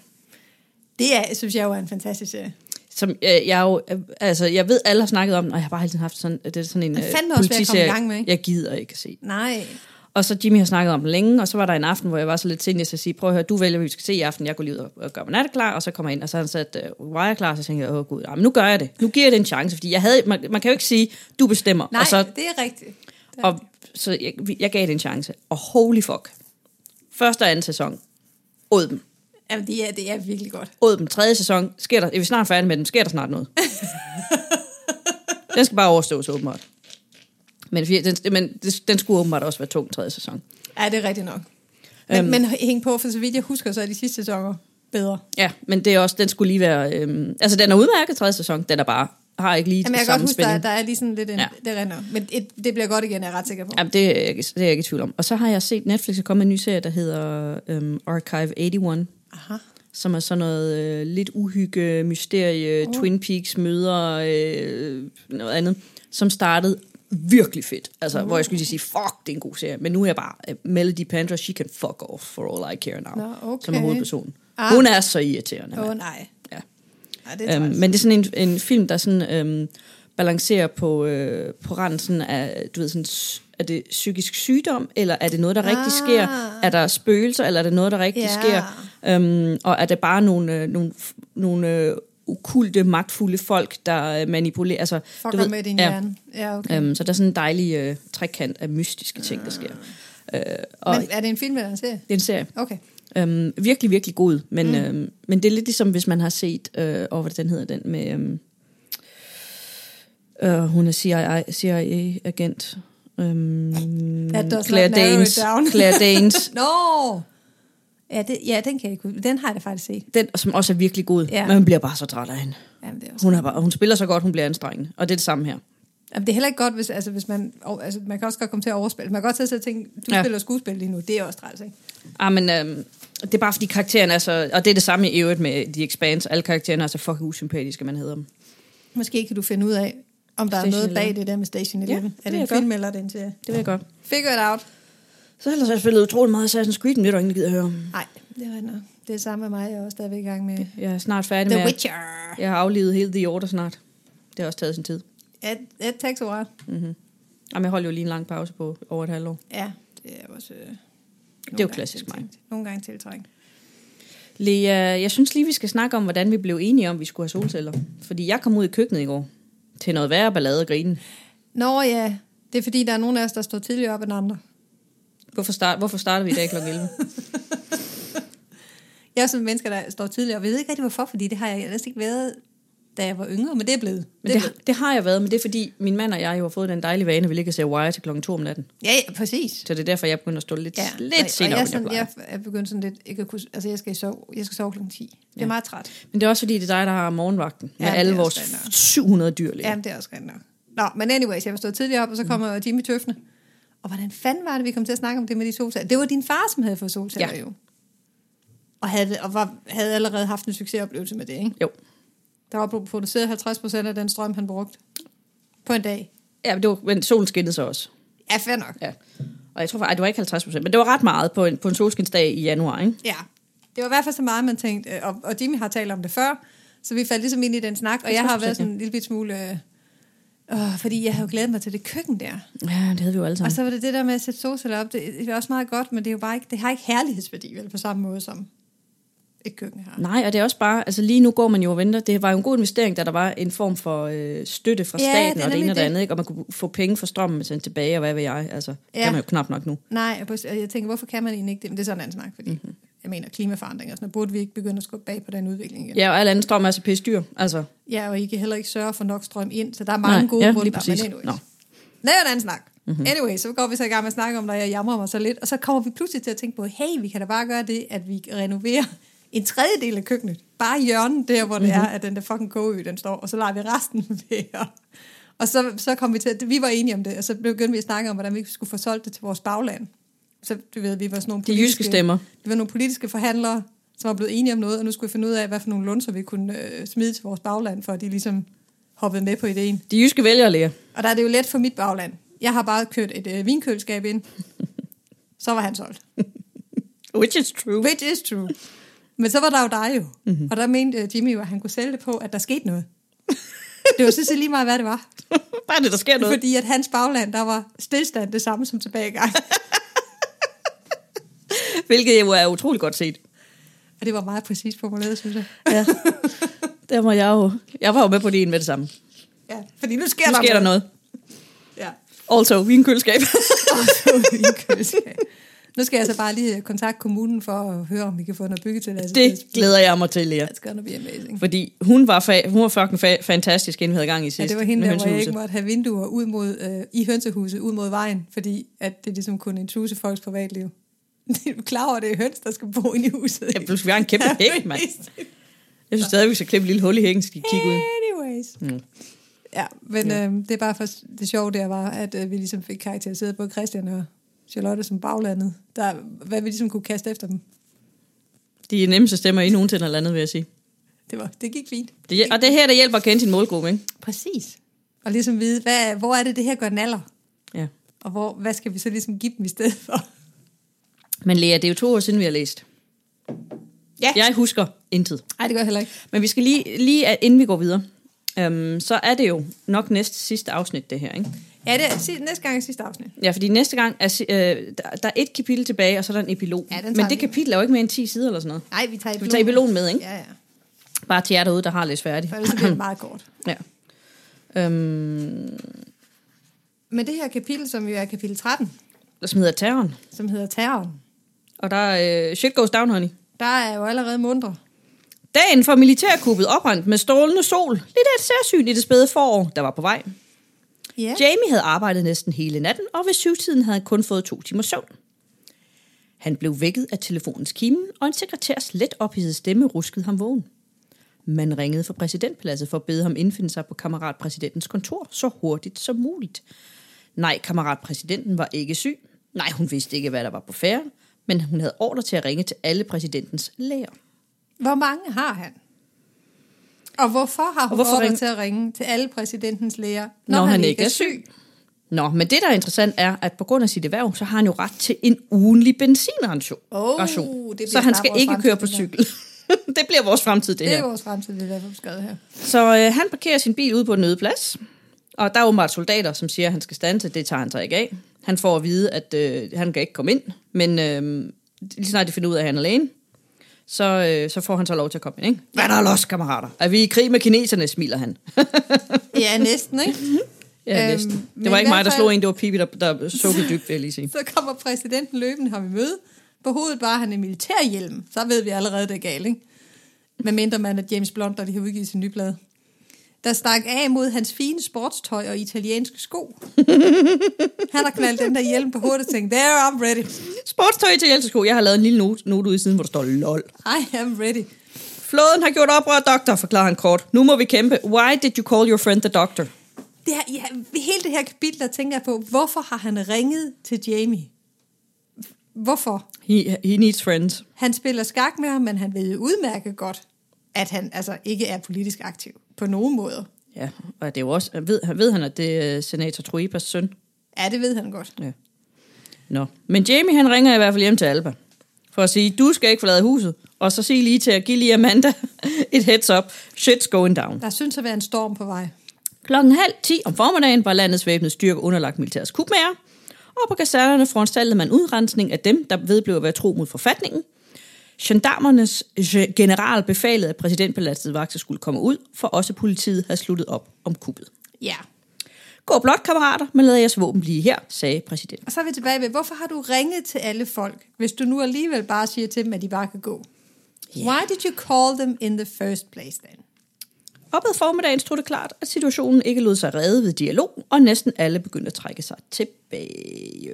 [SPEAKER 1] Det er, synes jeg jo er en fantastisk serie.
[SPEAKER 2] Som øh, jeg jo, øh, altså jeg ved, alle har snakket om den, og jeg har bare hele tiden haft sådan, det er sådan en
[SPEAKER 1] Den er
[SPEAKER 2] øh,
[SPEAKER 1] fandme også ved at komme i
[SPEAKER 2] politiserie,
[SPEAKER 1] gang med, ikke?
[SPEAKER 2] jeg gider ikke at se.
[SPEAKER 1] Nej.
[SPEAKER 2] Og så Jimmy har snakket om den længe, og så var der en aften, hvor jeg var så lidt sent, jeg så sige, prøv at høre, du vælger, hvad vi skal se i aften, jeg går lige ud og- og gør mig natteklar, og så kommer jeg ind, og så har han sat uh, wire klar, og så tænkte jeg, åh gud, nej, men nu gør jeg det, nu giver jeg det en chance, fordi jeg havde, man, man kan jo ikke sige, du bestemmer,
[SPEAKER 1] Nej,
[SPEAKER 2] og så,
[SPEAKER 1] det er rigtigt. Det er
[SPEAKER 2] og, så jeg, vi- jeg gav det en chance, og holy fuck, første og anden sæson, åd dem,
[SPEAKER 1] Jamen, det er, det er virkelig godt.
[SPEAKER 2] åd dem, tredje sæson, sker der, er vi snart færdige med den, sker der snart noget? den skal bare overstås åbenbart. Men, fir- den, men det- den skulle åbenbart også være tung tredje sæson.
[SPEAKER 1] Ja, det er rigtigt nok. Men, men hæng på, for så vidt jeg husker, så er de sidste sæsoner bedre.
[SPEAKER 2] Ja, men det er også, den skulle lige være... Øhm, altså, den er udmærket tredje sæson, den er bare... Har ikke lige
[SPEAKER 1] Jamen, jeg kan godt
[SPEAKER 2] samme
[SPEAKER 1] huske, der,
[SPEAKER 2] spænding.
[SPEAKER 1] der er lige sådan lidt en... Ja.
[SPEAKER 2] Ja.
[SPEAKER 1] Det render. Men et, det bliver godt igen, er jeg ret sikker på.
[SPEAKER 2] Jamen, det er, jeg ikke, det er jeg ikke i tvivl om. Og så har jeg set Netflix er kommet med en ny serie, der hedder øhm, Archive 81,
[SPEAKER 1] Aha.
[SPEAKER 2] som er sådan noget øh, lidt uhygge, mysterie, oh. Twin Peaks møder øh, noget andet, som startede virkelig fedt. Altså, hvor jeg skulle lige sige, fuck, det er en god serie. Men nu er jeg bare... Øh, Melody Pandra, she can fuck off for all I care now.
[SPEAKER 1] Nå, okay.
[SPEAKER 2] Som er hovedpersonen.
[SPEAKER 1] Ah.
[SPEAKER 2] Ah. Hun er så irriterende.
[SPEAKER 1] Åh,
[SPEAKER 2] mand.
[SPEAKER 1] oh, nej.
[SPEAKER 2] Ja.
[SPEAKER 1] Ej, det er
[SPEAKER 2] Øhm,
[SPEAKER 1] træls.
[SPEAKER 2] men det er sådan en, en film, der sådan, øhm, balancerer på, øh, på randen sådan af, du ved, sådan, s- er det psykisk sygdom, eller er det noget, der rigtig
[SPEAKER 1] Ah.
[SPEAKER 2] sker? Er der spøgelser, eller er det noget, der rigtig
[SPEAKER 1] Ja.
[SPEAKER 2] sker? Øhm, og er det bare nogle, øh, nogle, f- nogle øh, okulte, magtfulde folk, der øh, manipulerer. Altså,
[SPEAKER 1] Fucker ved, med din ja. hjerne. Ah. Ja, okay.
[SPEAKER 2] Øhm, så der er sådan en dejlig øh, trekant af mystiske ting, der sker. Øh, og
[SPEAKER 1] Men er det en film eller en serie?
[SPEAKER 2] det er en serie.
[SPEAKER 1] Okay.
[SPEAKER 2] Øhm, virkelig, virkelig god, men, mm. øhm, men det er lidt ligesom, hvis man har set, øh, og hvad den hedder den, med, øhm, øh, hun er CIA, CIA-agent, øhm,
[SPEAKER 1] That does not
[SPEAKER 2] Claire,
[SPEAKER 1] narrow it
[SPEAKER 2] Danes,
[SPEAKER 1] down.
[SPEAKER 2] Claire Danes,
[SPEAKER 1] Nå! Ja, det, ja, den kan jeg ikke huske. Den har jeg da faktisk set.
[SPEAKER 2] den, som også er virkelig god,
[SPEAKER 1] Ja.
[SPEAKER 2] ja. men man bliver bare så træt af hende.
[SPEAKER 1] Jamen, det er også
[SPEAKER 2] Hun, er bare, hun spiller så godt, hun bliver anstrengende, og det er det samme her.
[SPEAKER 1] Jamen, det er heller ikke godt, hvis, altså, hvis man... og- Altså, man kan også godt komme til at overspille. Man kan godt sidde og tænke, du ja.
[SPEAKER 2] Ja.
[SPEAKER 1] spiller skuespil lige nu. Det er også træls, ikke?
[SPEAKER 2] Ah, men, øhm, det er bare fordi karaktererne er så, og det er det samme i øvrigt med The Expanse, alle karaktererne er så fucking usympatiske, man hedder dem.
[SPEAKER 1] Måske kan du finde ud af, om der
[SPEAKER 2] Station
[SPEAKER 1] er noget bag
[SPEAKER 2] 11.
[SPEAKER 1] det der med Station
[SPEAKER 2] Ja,
[SPEAKER 1] 11.
[SPEAKER 2] det
[SPEAKER 1] er
[SPEAKER 2] vil
[SPEAKER 1] det en
[SPEAKER 2] jeg godt.
[SPEAKER 1] film, eller er det en serie?
[SPEAKER 2] Det vil jeg godt.
[SPEAKER 1] Figure it out.
[SPEAKER 2] Så ellers har jeg spillet utrolig meget Assassin's Creed, men det er der ingen, der gider at høre om.
[SPEAKER 1] Nej, det er rigtigt. nok. Det er samme med mig. Jeg er også stadigvæk i gang med
[SPEAKER 2] Jeg er snart færdig
[SPEAKER 1] The
[SPEAKER 2] med... at-
[SPEAKER 1] Witcher.
[SPEAKER 2] Jeg har aflevet hele The Order snart. Det har også taget sin tid.
[SPEAKER 1] Ja, det tager så meget.
[SPEAKER 2] Mm-hmm. Jamen, jeg holdt jo lige en lang pause på over et halvt år.
[SPEAKER 1] Ja, det er også... Øh, nogle
[SPEAKER 2] jo
[SPEAKER 1] gange
[SPEAKER 2] klassisk mig.
[SPEAKER 1] tiltrængt. Nogle gange tiltrængt.
[SPEAKER 2] Lea, jeg synes lige, vi skal snakke om, hvordan vi blev enige om, at vi skulle have solceller. Fordi jeg kom ud i køkkenet i går til noget værre ballade og grine.
[SPEAKER 1] Nå ja, det er fordi, der er nogen af os, der står tidligere op end andre.
[SPEAKER 2] Hvorfor, start, hvorfor starter vi i dag kl. 11?
[SPEAKER 1] Jeg er sådan en menneske, der står tidligere op. Jeg ved ikke rigtig, hvorfor, fordi det har jeg ellers ikke været, da jeg var yngre, men det er blevet.
[SPEAKER 2] Men det, det, har jeg været, men det er fordi, min mand og jeg jo har fået den dejlige vane, at vi ligger og ser Wire til kl. 2 om natten.
[SPEAKER 1] Ja, ja, præcis.
[SPEAKER 2] Så det er derfor, jeg begynder at stå lidt,
[SPEAKER 1] Ja,
[SPEAKER 2] ja, lidt
[SPEAKER 1] nej, og
[SPEAKER 2] senere,
[SPEAKER 1] jeg,
[SPEAKER 2] jeg,
[SPEAKER 1] er
[SPEAKER 2] end jeg
[SPEAKER 1] sådan,
[SPEAKER 2] plejer.
[SPEAKER 1] jeg er begyndt sådan lidt, ikke at kunne, altså jeg skal sove, jeg skal sove klokken 10. Det er ja. meget træt.
[SPEAKER 2] Men det er også fordi, det er dig, der har morgenvagten med
[SPEAKER 1] Ja, det er
[SPEAKER 2] alle
[SPEAKER 1] også
[SPEAKER 2] vores
[SPEAKER 1] fair nok.
[SPEAKER 2] 700 dyr.
[SPEAKER 1] Ja,
[SPEAKER 2] Ja.
[SPEAKER 1] Jamen, det er også rent nok. Nå, men anyways, jeg var stået tidligere op, og så kommer mm. Jimmy tøffende. Og hvordan fanden var det, vi kom til at snakke om det med de solceller? Det var din far, som havde fået solceller ja.
[SPEAKER 2] Ja.
[SPEAKER 1] jo. Og, havde, og var, havde allerede haft en succesoplevelse med det, ikke?
[SPEAKER 2] Jo.
[SPEAKER 1] Der var blevet produceret 50 procent af den strøm, han brugte på en dag.
[SPEAKER 2] Ja, men, det var, men solen skinnede så også.
[SPEAKER 1] Ja, fair nok.
[SPEAKER 2] Ja. Og jeg tror faktisk, det var ikke 50 procent, men det var ret meget på en, på en solskinsdag i januar, ikke?
[SPEAKER 1] Ja, det var i hvert fald så meget, man tænkte, øh, og, og Jimmy har talt om det før, så vi faldt ligesom ind i den snak, og jeg har været sådan en lille bit smule, øh, åh, fordi jeg havde jo glædet mig til det køkken der.
[SPEAKER 2] Ja, det havde vi jo alle
[SPEAKER 1] Og
[SPEAKER 2] sammen.
[SPEAKER 1] så var det det der med at sætte solceller op, det, det er også meget godt, men det, er jo bare ikke, det har ikke herlighedsværdi vel, på samme måde som et køkken har.
[SPEAKER 2] Nej, og det er også bare, altså lige nu går man jo og venter. Det var jo en god investering, da der var en form for øh, støtte fra
[SPEAKER 1] Ja,
[SPEAKER 2] ja,
[SPEAKER 1] det
[SPEAKER 2] staten
[SPEAKER 1] er
[SPEAKER 2] og det
[SPEAKER 1] nemlig
[SPEAKER 2] ene og det
[SPEAKER 1] det.
[SPEAKER 2] andet, ikke? og man kunne få penge for strømmen sendt tilbage, og hvad ved jeg. Altså, ja.
[SPEAKER 1] Ja.
[SPEAKER 2] kan man jo knap nok nu.
[SPEAKER 1] Nej, og på- og jeg tænker, hvorfor kan man egentlig ikke det? Men det er sådan en anden snak, fordi mm-hmm. jeg mener klimaforandringer, og sådan noget. burde vi ikke begynde at skubbe bag på den udvikling igen?
[SPEAKER 2] Ja, og al anden strøm er så pisse dyr. Altså,
[SPEAKER 1] Ja, og I kan heller ikke sørge for nok strøm ind, så der er mange
[SPEAKER 2] Nej,
[SPEAKER 1] gode
[SPEAKER 2] ja,
[SPEAKER 1] grunde,
[SPEAKER 2] lige
[SPEAKER 1] der, men
[SPEAKER 2] præcis.
[SPEAKER 1] anyways.
[SPEAKER 2] Nå.
[SPEAKER 1] Det er jo en anden snak.
[SPEAKER 2] Mhm.
[SPEAKER 1] Mm-hmm. Anyway, så går vi så i gang med at snakke om, når jeg jamrer mig så lidt, og så kommer vi pludselig til at tænke på, hey, vi kan da bare gøre det, at vi renoverer en tredjedel af køkkenet. Bare hjørnet der, hvor det
[SPEAKER 2] Mhm.
[SPEAKER 1] mm-hmm. er, at den der fucking kogeø, den står, og så lader vi resten være. Og så, så kom vi til, at vi var enige om det, og så begyndte vi at snakke om, hvordan vi skulle få solgt det til vores bagland. Så du ved, vi var sådan nogle
[SPEAKER 2] De jyske stemmer.
[SPEAKER 1] Vi var nogle politiske forhandlere, som var blevet enige om noget, og nu skulle vi finde ud af, hvad for nogle lunser vi kunne øh, smide til vores bagland, for at de ligesom hoppede med på ideen.
[SPEAKER 2] de jyske vælgere, Lea.
[SPEAKER 1] Og der er det jo let for mit bagland. Jeg har bare kørt et øh, vinkøleskab ind. Så var han solgt.
[SPEAKER 2] Which is true.
[SPEAKER 1] Which is true. Men så var der jo dig jo. Mm-hmm. Og der mente øh, Jimmy jo, at han kunne sælge det på, at der skete noget. Det var sådan set lige meget, hvad det var.
[SPEAKER 2] bare det, der sker noget.
[SPEAKER 1] Fordi at hans bagland, der var stillstand det samme som tilbagegang.
[SPEAKER 2] Hvilket jo er utrolig godt set.
[SPEAKER 1] Og det var meget præcist formuleret, synes jeg.
[SPEAKER 2] Ja. Der var jeg jo. Jeg var jo med på det ene med det samme. Nu
[SPEAKER 1] Ja, fordi nu sker,
[SPEAKER 2] sker der noget.
[SPEAKER 1] Ja.
[SPEAKER 2] Also, vi er en køleskab.
[SPEAKER 1] Og så vinkøleskab. Nu skal jeg så bare lige øh, kontakte kommunen for at høre, om vi kan få noget byggetilladelse.
[SPEAKER 2] Det glæder jeg mig til, Lea.
[SPEAKER 1] That's gonna be amazing.
[SPEAKER 2] Fordi hun var, fa- hun var fucking fa- fantastisk, inden vi havde gang i sidst.
[SPEAKER 1] Ja, det var hende
[SPEAKER 2] med
[SPEAKER 1] der, hvor jeg
[SPEAKER 2] hønsehuset.
[SPEAKER 1] ikke måtte have vinduer ud mod, øh, i hønsehuset ud mod vejen, fordi at det ligesom kunne intruse folks privatliv. Det er klar over, at det er høns, der skal bo inde i huset.
[SPEAKER 2] Ja, pludselig vi har en kæmpe hæk, mand. Jeg synes stadig, vi skal klippe et lille hul i hækken, så de kan kigge ud.
[SPEAKER 1] Anyways. Mm. Ja, men ja. Øh, det er bare for det sjove der var, at øh, vi ligesom fik karakteriseret både Christian og Charlotte som baglandet. Der, hvad vi ligesom kunne kaste efter dem.
[SPEAKER 2] De er nemmeste stemmer i nogensinde eller andet, vil jeg sige.
[SPEAKER 1] Det, var, det gik fint.
[SPEAKER 2] Det, hjæl- og det er her, der hjælper at kende sin målgruppe, ikke?
[SPEAKER 1] Præcis. Og ligesom vide, hvad, hvor er det, det her gør naller?
[SPEAKER 2] Ja.
[SPEAKER 1] Og hvor, hvad skal vi så ligesom give dem i stedet for?
[SPEAKER 2] Men Lea, det er jo to år siden, vi har læst.
[SPEAKER 1] Ja.
[SPEAKER 2] Jeg husker intet.
[SPEAKER 1] Nej, det gør jeg heller ikke.
[SPEAKER 2] Men vi skal lige, lige at- inden vi går videre, øhm, så er det jo nok næst sidste afsnit, det her, ikke?
[SPEAKER 1] Ja, det er si- næste gang i sidste afsnit.
[SPEAKER 2] Ja, fordi næste gang er, si- øh, der, der er et kapitel tilbage, og så er der en epilog.
[SPEAKER 1] Ja, den tager
[SPEAKER 2] Men det
[SPEAKER 1] vi.
[SPEAKER 2] kapitel er jo ikke mere end 10 sider eller sådan noget.
[SPEAKER 1] Nej, vi tager
[SPEAKER 2] Vi tager epilogen med, ikke?
[SPEAKER 1] Ja, ja.
[SPEAKER 2] Bare til jer derude, der har læst færdigt.
[SPEAKER 1] For ellers så bliver det meget kort.
[SPEAKER 2] Ja. Øhm,
[SPEAKER 1] Men det her kapitel, som jo er kapitel 13,
[SPEAKER 2] der smider terroren.
[SPEAKER 1] som hedder Terroren,
[SPEAKER 2] Og der er øh, shit goes down, honey.
[SPEAKER 1] der er jo allerede mundre.
[SPEAKER 2] Dagen for militærkuppet oprændt med strålende sol. Lidt af et særsyn i det spæde forår, der var på vej.
[SPEAKER 1] Ja.
[SPEAKER 2] Jamie havde arbejdet næsten hele natten, og ved syvtiden havde han kun fået to timer søvn. Han blev vækket af telefonens kimen, og en sekretærs let ophidsede stemme ruskede ham vågen. Man ringede fra præsidentpaladset for at bede ham indfinde sig på kammeratpræsidentens kontor så hurtigt som muligt. Nej, kammeratpræsidenten var ikke syg. Nej, hun vidste ikke, hvad der var på færre, men hun havde ordre til at ringe til alle præsidentens læger.
[SPEAKER 1] Hvor mange har han? Og hvorfor har hun
[SPEAKER 2] hvorfor
[SPEAKER 1] hvorfor ordre
[SPEAKER 2] ringe-
[SPEAKER 1] til at ringe til alle præsidentens læger,
[SPEAKER 2] når, når han, han ikke er syg. Nå, men det, der er interessant, er, at på grund af sit erhverv, så har han jo ret til en ugenlig benzinration.
[SPEAKER 1] Oh,
[SPEAKER 2] ration.
[SPEAKER 1] det bliver
[SPEAKER 2] så han
[SPEAKER 1] snart
[SPEAKER 2] skal
[SPEAKER 1] vores
[SPEAKER 2] ikke
[SPEAKER 1] fremtid,
[SPEAKER 2] køre på
[SPEAKER 1] det her.
[SPEAKER 2] cykel. det bliver vores fremtid, det
[SPEAKER 1] Det er
[SPEAKER 2] her.
[SPEAKER 1] vores fremtid, det er derfor, vi skrev her.
[SPEAKER 2] Så øh, han parkerer sin bil ude på den øde plads, og der er åbenbart soldater, som siger, at han skal standse. Det tager han sig ikke af. Han får at vide, at øh, han kan ikke komme ind, men øh, lige snart de finder ud af, at han er alene, så, øh, så får han så lov til at komme ind. Ikke? Hvad er der er los, kammerater? Er vi i krig med kineserne, smiler han.
[SPEAKER 1] Ja, næsten, ikke?
[SPEAKER 2] Ja,
[SPEAKER 1] Øhm,
[SPEAKER 2] øhm, næsten.
[SPEAKER 1] men
[SPEAKER 2] Det var
[SPEAKER 1] i
[SPEAKER 2] ikke mig,
[SPEAKER 1] hvert
[SPEAKER 2] der
[SPEAKER 1] fald-
[SPEAKER 2] slog en, det var Pippi, der, der sukkede dybt, vil jeg lige sige.
[SPEAKER 1] Så kommer præsidenten løbende ham i møde. På hovedet bare han en militærhjelm. Så ved vi allerede, det er galt, ikke? Med mindre man er James Blunt, der de har udgivet sin nye blad. Der stak af mod hans fine sportstøj og italienske sko. Han har knaldt den der hjelm på hovedet og tænkt, there, I'm ready.
[SPEAKER 2] Sportstøj til Hjeltesko. Jeg har lavet en lille note, note ude i siden, hvor der står LOL.
[SPEAKER 1] I am ready.
[SPEAKER 2] Flåden har gjort oprør, doktor, forklarer han kort. Nu må vi kæmpe. Why did you call your friend the doctor?
[SPEAKER 1] Det her, ja, hele det her kapitel, der tænker jeg på, hvorfor har han ringet til Jamie? Hvorfor?
[SPEAKER 2] He, he needs friends.
[SPEAKER 1] Han spiller skak med ham, men han ved jo udmærket godt, at han altså ikke er politisk aktiv på nogen måde.
[SPEAKER 2] Ja, og det er jo også, han ved, han ved han, at det er øh, senator Truebas søn.
[SPEAKER 1] Ja, det ved han godt.
[SPEAKER 2] Ja. Nå. Men Jamie, han ringer i hvert fald hjem til Alba. For at sige, du skal ikke forlade huset. Og så sig lige til at give lige Amanda et heads up. Shit's going down.
[SPEAKER 1] Der synes at være en storm på vej.
[SPEAKER 2] Klokken halv 10 om formiddagen var landets væbnede styrke underlagt militærets kubmager, og på kasernerne foranstaltede man udrensning af dem, der vedblev at være tro mod forfatningen. Gendarmernes ge- general befalede, at præsidentpaladset vagter skulle komme ud, for også politiet havde sluttet op om kuppet.
[SPEAKER 1] Ja.
[SPEAKER 2] Gå blot, kammerater, men lad jeres våben blive her, sagde præsidenten.
[SPEAKER 1] Og så er vi tilbage ved, hvorfor har du ringet til alle folk, hvis du nu alligevel bare siger til dem, at de bare kan gå? Yeah. Why did you call them in the first place then?
[SPEAKER 2] Op ad formiddagen stod det klart, at situationen ikke lod sig redde ved dialog, og næsten alle begyndte at trække sig tilbage.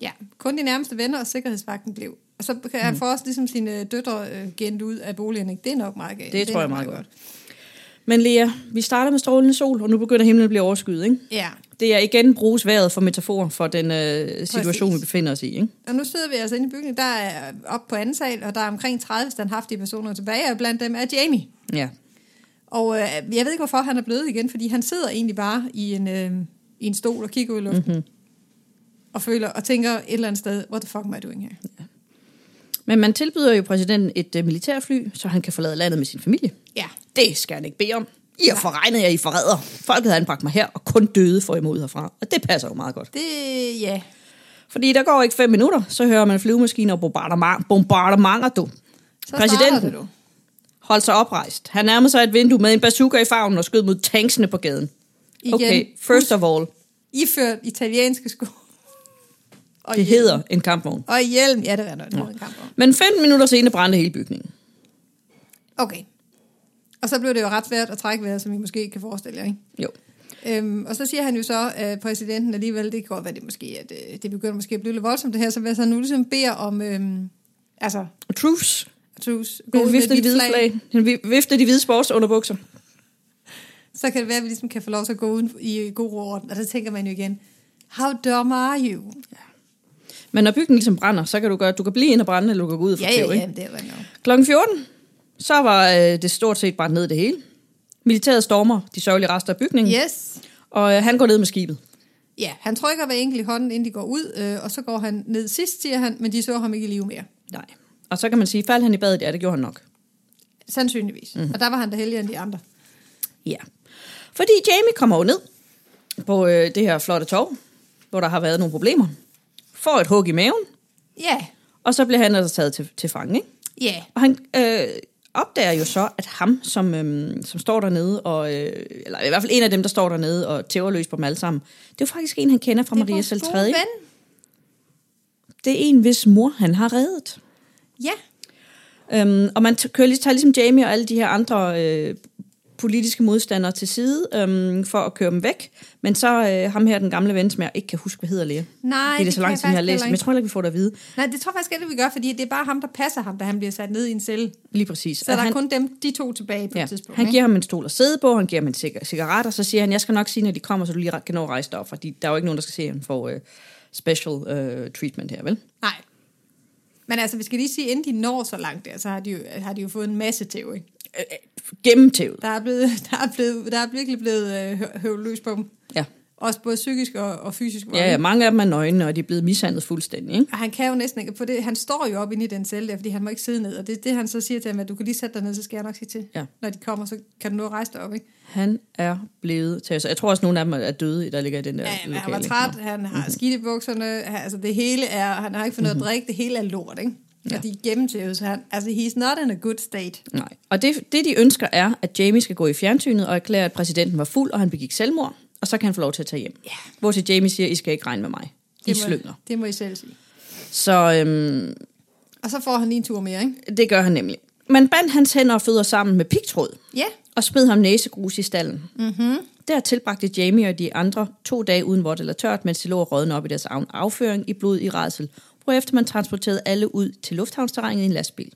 [SPEAKER 1] Ja, kun de nærmeste venner og sikkerhedsvagten blev. Og så kan han få også ligesom sine øh, døtre øh, gent ud af boligen. ikke? Det er nok meget galt.
[SPEAKER 2] Det
[SPEAKER 1] er
[SPEAKER 2] tror jeg
[SPEAKER 1] nok
[SPEAKER 2] meget godt. Men Lea, vi starter med strålende sol, og nu begynder himlen at blive overskyet, ikke?
[SPEAKER 1] Ja,
[SPEAKER 2] Det er igen bruges vejret for metafor for den øh, situation, vi
[SPEAKER 1] Præcis.
[SPEAKER 2] befinder os i. Ikke?
[SPEAKER 1] og nu sidder vi altså inde i bygningen. Der er op på anden sal, og der er omkring 30 standhaftige personer tilbage, og blandt dem er Jamie.
[SPEAKER 2] Ja.
[SPEAKER 1] Og øh, jeg ved ikke, hvorfor han er blevet igen, fordi han sidder egentlig bare i en, øh, i en stol og kigger ud i luften. Mm-hmm. Og føler og tænker et eller andet sted, what the fuck am I doing here?
[SPEAKER 2] Men man tilbyder jo præsidenten et øh, militærfly, så han kan forlade landet med sin familie.
[SPEAKER 1] Ja.
[SPEAKER 2] Det skal han ikke bede om. I har forregnet jer, I forræder. Folket har anbragt mig her, og kun døde får imod herfra. Og det passer jo meget godt.
[SPEAKER 1] Det, ja.
[SPEAKER 2] Fordi der går ikke fem minutter, så hører man flyvemaskiner og bombardement- bombardementer, du.
[SPEAKER 1] Så
[SPEAKER 2] Præsidenten.
[SPEAKER 1] starter det du.
[SPEAKER 2] Holdt sig oprejst. Han nærmede sig et vindue med en bazooka i farven og skød mod tanksene på gaden.
[SPEAKER 1] Igen.
[SPEAKER 2] Okay, first of all,
[SPEAKER 1] I ført italienske sko. Og
[SPEAKER 2] det
[SPEAKER 1] hjelm.
[SPEAKER 2] hedder en kampvogn.
[SPEAKER 1] Og hjelm. Ja, det er noget. Ja. En kamp om.
[SPEAKER 2] Men fem minutter senere brændte hele bygningen.
[SPEAKER 1] Okay. Og så blev det jo ret svært at trække vejret, som I måske kan forestille jer, ikke?
[SPEAKER 2] Jo.
[SPEAKER 1] Øhm, og så siger han jo så, at præsidenten alligevel, det kan godt være, det, måske, at øh, det begynder måske at blive lidt voldsomt det her, så hvis han nu ligesom beder om, øhm, altså,
[SPEAKER 2] Truce.
[SPEAKER 1] Truce, gå
[SPEAKER 2] Han
[SPEAKER 1] ud med et
[SPEAKER 2] vifter de
[SPEAKER 1] hvidt
[SPEAKER 2] hvide
[SPEAKER 1] flag,
[SPEAKER 2] flag. Han vi- vifter de hvide sportsunderbukser.
[SPEAKER 1] så kan det være, at vi ligesom kan få lov til at gå uden i øh, god ro og orden. Og så tænker man jo igen, how dumb are you?
[SPEAKER 2] Men når bygningen ligesom brænder, så kan du gøre, du kan blive ind og brænde, eller du kan gå ud og
[SPEAKER 1] Ja,
[SPEAKER 2] fortæve,
[SPEAKER 1] ja,
[SPEAKER 2] ikke?
[SPEAKER 1] ja, det er rigtig nok.
[SPEAKER 2] Klokken 14, så var øh, det stort set brændt ned det hele. Militæret stormer de sørgelige rester af bygningen,
[SPEAKER 1] Yes.
[SPEAKER 2] og øh, han går ned med skibet.
[SPEAKER 1] Ja, han trykker hver enkelt i hånden, inden de går ud, øh, og så går han ned sidst, siger han, men de så ham ikke i live mere.
[SPEAKER 2] Nej. Og så kan man sige, faldt han i badet? Ja, det gjorde han nok.
[SPEAKER 1] Sandsynligvis. Mm. Og der var han da heldigere end de andre.
[SPEAKER 2] Ja. Fordi Jamie kommer jo ned på øh, det her flotte tog, hvor der har været nogle problemer. Får et hug i maven,
[SPEAKER 1] Ja,
[SPEAKER 2] og så bliver han altså taget til, til fange, ikke?
[SPEAKER 1] ja.
[SPEAKER 2] Og han øh, opdager jo så, at ham, som, øhm, som står dernede, og, øh, eller i hvert fald en af dem, der står dernede og tæver løs på dem alle sammen, det er jo faktisk en, han kender fra
[SPEAKER 1] Det er
[SPEAKER 2] Maria
[SPEAKER 1] vores
[SPEAKER 2] Selv
[SPEAKER 1] gode
[SPEAKER 2] 3.
[SPEAKER 1] ven.
[SPEAKER 2] Det er en, hvis mor han har reddet.
[SPEAKER 1] Ja,
[SPEAKER 2] Øhm, og man t- kører, lige- tager ligesom Jamie og alle de her andre øh, politiske modstandere til side, øhm, for at køre dem væk. Men så øh, ham her, den gamle ven, som jeg ikke kan huske, hvad hedder læge.
[SPEAKER 1] nej,
[SPEAKER 2] det er det så
[SPEAKER 1] kan
[SPEAKER 2] lang
[SPEAKER 1] jeg
[SPEAKER 2] tid, jeg har
[SPEAKER 1] faktisk
[SPEAKER 2] læst,
[SPEAKER 1] heller
[SPEAKER 2] men jeg
[SPEAKER 1] ikke.
[SPEAKER 2] tror heller ikke, vi får det at vide.
[SPEAKER 1] Nej, det tror jeg faktisk ikke, vi gør, fordi det er bare ham, der passer ham, da han bliver sat ned i en celle.
[SPEAKER 2] Lige præcis.
[SPEAKER 1] Så
[SPEAKER 2] At
[SPEAKER 1] der
[SPEAKER 2] han-
[SPEAKER 1] er kun dem, de to tilbage på ja. et tidspunkt.
[SPEAKER 2] Han
[SPEAKER 1] ikke?
[SPEAKER 2] giver ham en stol at sidde på, han giver ham en cig- cigaret, og så siger han, jeg skal nok sige, når de kommer, så du lige re- kan nå at rejse dig op, fordi der er jo ikke nogen, der skal se, at han får øh, special øh, treatment her, vel?
[SPEAKER 1] Nej. Men altså, vi skal lige sige, inden de når så langt der, så har de jo, har de jo fået en masse tæv, ikke?
[SPEAKER 2] Øh, øh, Gennemtævet.
[SPEAKER 1] Der er, blevet, der er, blevet, der er virkelig blevet øh, hø- høvlet løs på dem.
[SPEAKER 2] Ja.
[SPEAKER 1] Også både psykisk og, og fysisk. vold,
[SPEAKER 2] Ja, ja,
[SPEAKER 1] ikke?
[SPEAKER 2] mange af dem er nøgne, og de er blevet mishandlet fuldstændig, ikke?
[SPEAKER 1] Og han kan jo næsten ikke på det. Han står jo op inde i den celle der, fordi han må ikke sidde ned. Og det er det, han så siger til ham, at du kan lige sætte dig ned, så skal jeg nok sige til.
[SPEAKER 2] Ja.
[SPEAKER 1] Når de kommer, så kan du nå at rejse dig op, ikke?
[SPEAKER 2] Han er blevet taget. Så jeg tror også, nogle af dem er døde, der ligger i den der
[SPEAKER 1] Ja, Mhm. men han var
[SPEAKER 2] lokale.
[SPEAKER 1] træt, han har skidt i bukserne, han- altså det hele er, han har ikke fået noget at drikke, det hele er lort, ikke? Mhm. Ja. Og de er gennemtævet, så han, altså he's not in a good state.
[SPEAKER 2] Nej. Og det, det, de ønsker, er, at Jamie skal gå i fjernsynet og erklære, at præsidenten var fuld, og han begik selvmord, og så kan han få lov til at tage hjem.
[SPEAKER 1] Ja.
[SPEAKER 2] Hvor til Jamie siger, I skal ikke regne med mig. I
[SPEAKER 1] må,
[SPEAKER 2] slynger.
[SPEAKER 1] Det må I selv sige.
[SPEAKER 2] Så øhm,
[SPEAKER 1] Og så får han lige en tur mere, ikke?
[SPEAKER 2] Det gør han nemlig. Man bandt hans hænder og fødder sammen med pigtråd
[SPEAKER 1] Ja,
[SPEAKER 2] og smed ham næsegrus i stallen. Mm-hmm. Der tilbragte Jamie og de andre to dage uden vådt eller tørt, mens de lå og rådne op i deres af- afføring i blod i redsel, hvorefter man transporterede alle ud til lufthavnsterrænet i en lastbil.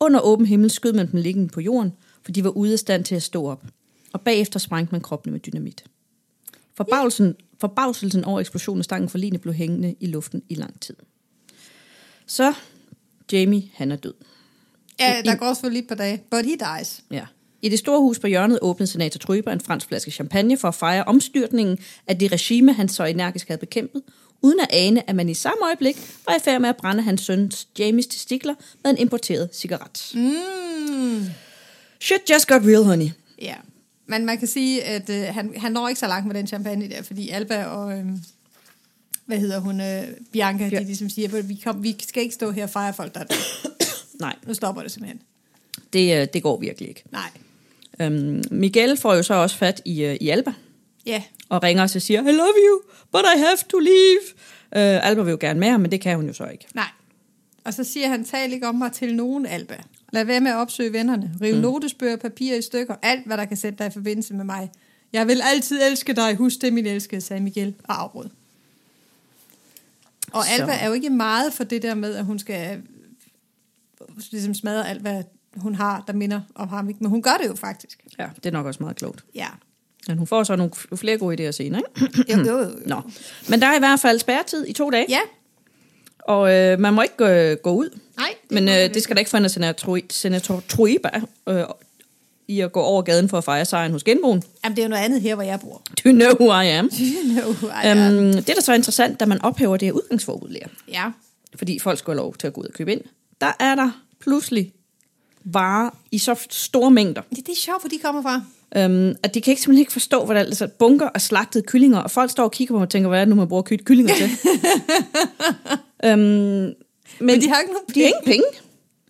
[SPEAKER 2] Under åben himmel skød man dem liggende på jorden, for de var ude af stand til at stå op. Og bagefter sprængte man kroppene med dynamit. Forbavselsen, forbavselsen over eksplosionen stangen for Line blev hængende i luften i lang tid. Så Jamie, han er død.
[SPEAKER 1] ja der går selvfølgelig et par dage, but he dies.
[SPEAKER 2] Ja. I det store hus på hjørnet åbnede senator Tryber en fransk flaske champagne for at fejre omstyrtningen af det regime, han så energisk havde bekæmpet, uden at ane, at man i samme øjeblik var i færd med at brænde hans søns Jamies testikler med en importeret cigaret. Mm. Shit just got real, honey.
[SPEAKER 1] Ja. Men man kan sige, at øh, han, han når ikke så langt med den champagne der, fordi Alba og, øh, hvad hedder hun, øh, Bianca, ja.
[SPEAKER 2] Ja.
[SPEAKER 1] de ligesom siger, at vi, kom, vi skal ikke stå her og fejre folk, der er døde.
[SPEAKER 2] Nej,
[SPEAKER 1] Nu stopper det simpelthen.
[SPEAKER 2] det, øh, det går virkelig ikke.
[SPEAKER 1] Nej.
[SPEAKER 2] Øhm, Miguel får jo så også fat i, øh, i Alba
[SPEAKER 1] Ja,
[SPEAKER 2] og ringer os og siger, I love you, but I have to leave. Øh, Alba vil jo gerne med ham, men det kan hun jo så ikke.
[SPEAKER 1] Nej. Og så siger han, tal ikke om mig til nogen, Alba. Lad være med at opsøge vennerne. Riv mm. notesbøger, papir i stykker. Alt, hvad der kan sætte dig i forbindelse med mig. Jeg vil altid elske dig. Husk det, min elskede, sagde Miguel og afbrød. Og
[SPEAKER 2] Så.
[SPEAKER 1] Alba er jo ikke meget for det der med, at hun skal øh, ligesom smadre alt, hvad hun har, der minder om ham. ikke? Men hun gør det jo faktisk.
[SPEAKER 2] Ja, det er nok også meget klogt.
[SPEAKER 1] Ja.
[SPEAKER 2] Men hun får så nogle f- flere gode idéer senere, ikke?
[SPEAKER 1] Jo, jo, jo.
[SPEAKER 2] Nå, men der er i hvert fald spærretid i to dage,
[SPEAKER 1] Ja.
[SPEAKER 2] og øh, man må ikke øh, gå ud.
[SPEAKER 1] Nej.
[SPEAKER 2] Men
[SPEAKER 1] må hun
[SPEAKER 2] øh,
[SPEAKER 1] ikke.
[SPEAKER 2] det skal da ikke forhindre senator, senator Trueba øh, i at gå over gaden for at fejre sejren hos genboen.
[SPEAKER 1] Jamen, det er jo noget andet her, hvor jeg bor.
[SPEAKER 2] Do you know who I am?
[SPEAKER 1] no,
[SPEAKER 2] Ja. Øhm, det, der så er interessant, da man ophæver det her udgangsforbud, Lea,
[SPEAKER 1] ja.
[SPEAKER 2] fordi folk skulle have lov til at gå ud og købe ind, der er der pludselig varer i så store mængder,
[SPEAKER 1] Det, det er sjovt, hvor de kommer fra.
[SPEAKER 2] Øhm, at de kan ikke, simpelthen ikke forstå, hvordan altså, bunker og slagtede kyllinger, og folk står og kigger på mig og tænker, hvad er det nu, man bruger ky- kyllinger til? øhm, men,
[SPEAKER 1] Men de har ikke nogen
[SPEAKER 2] de har ingen penge.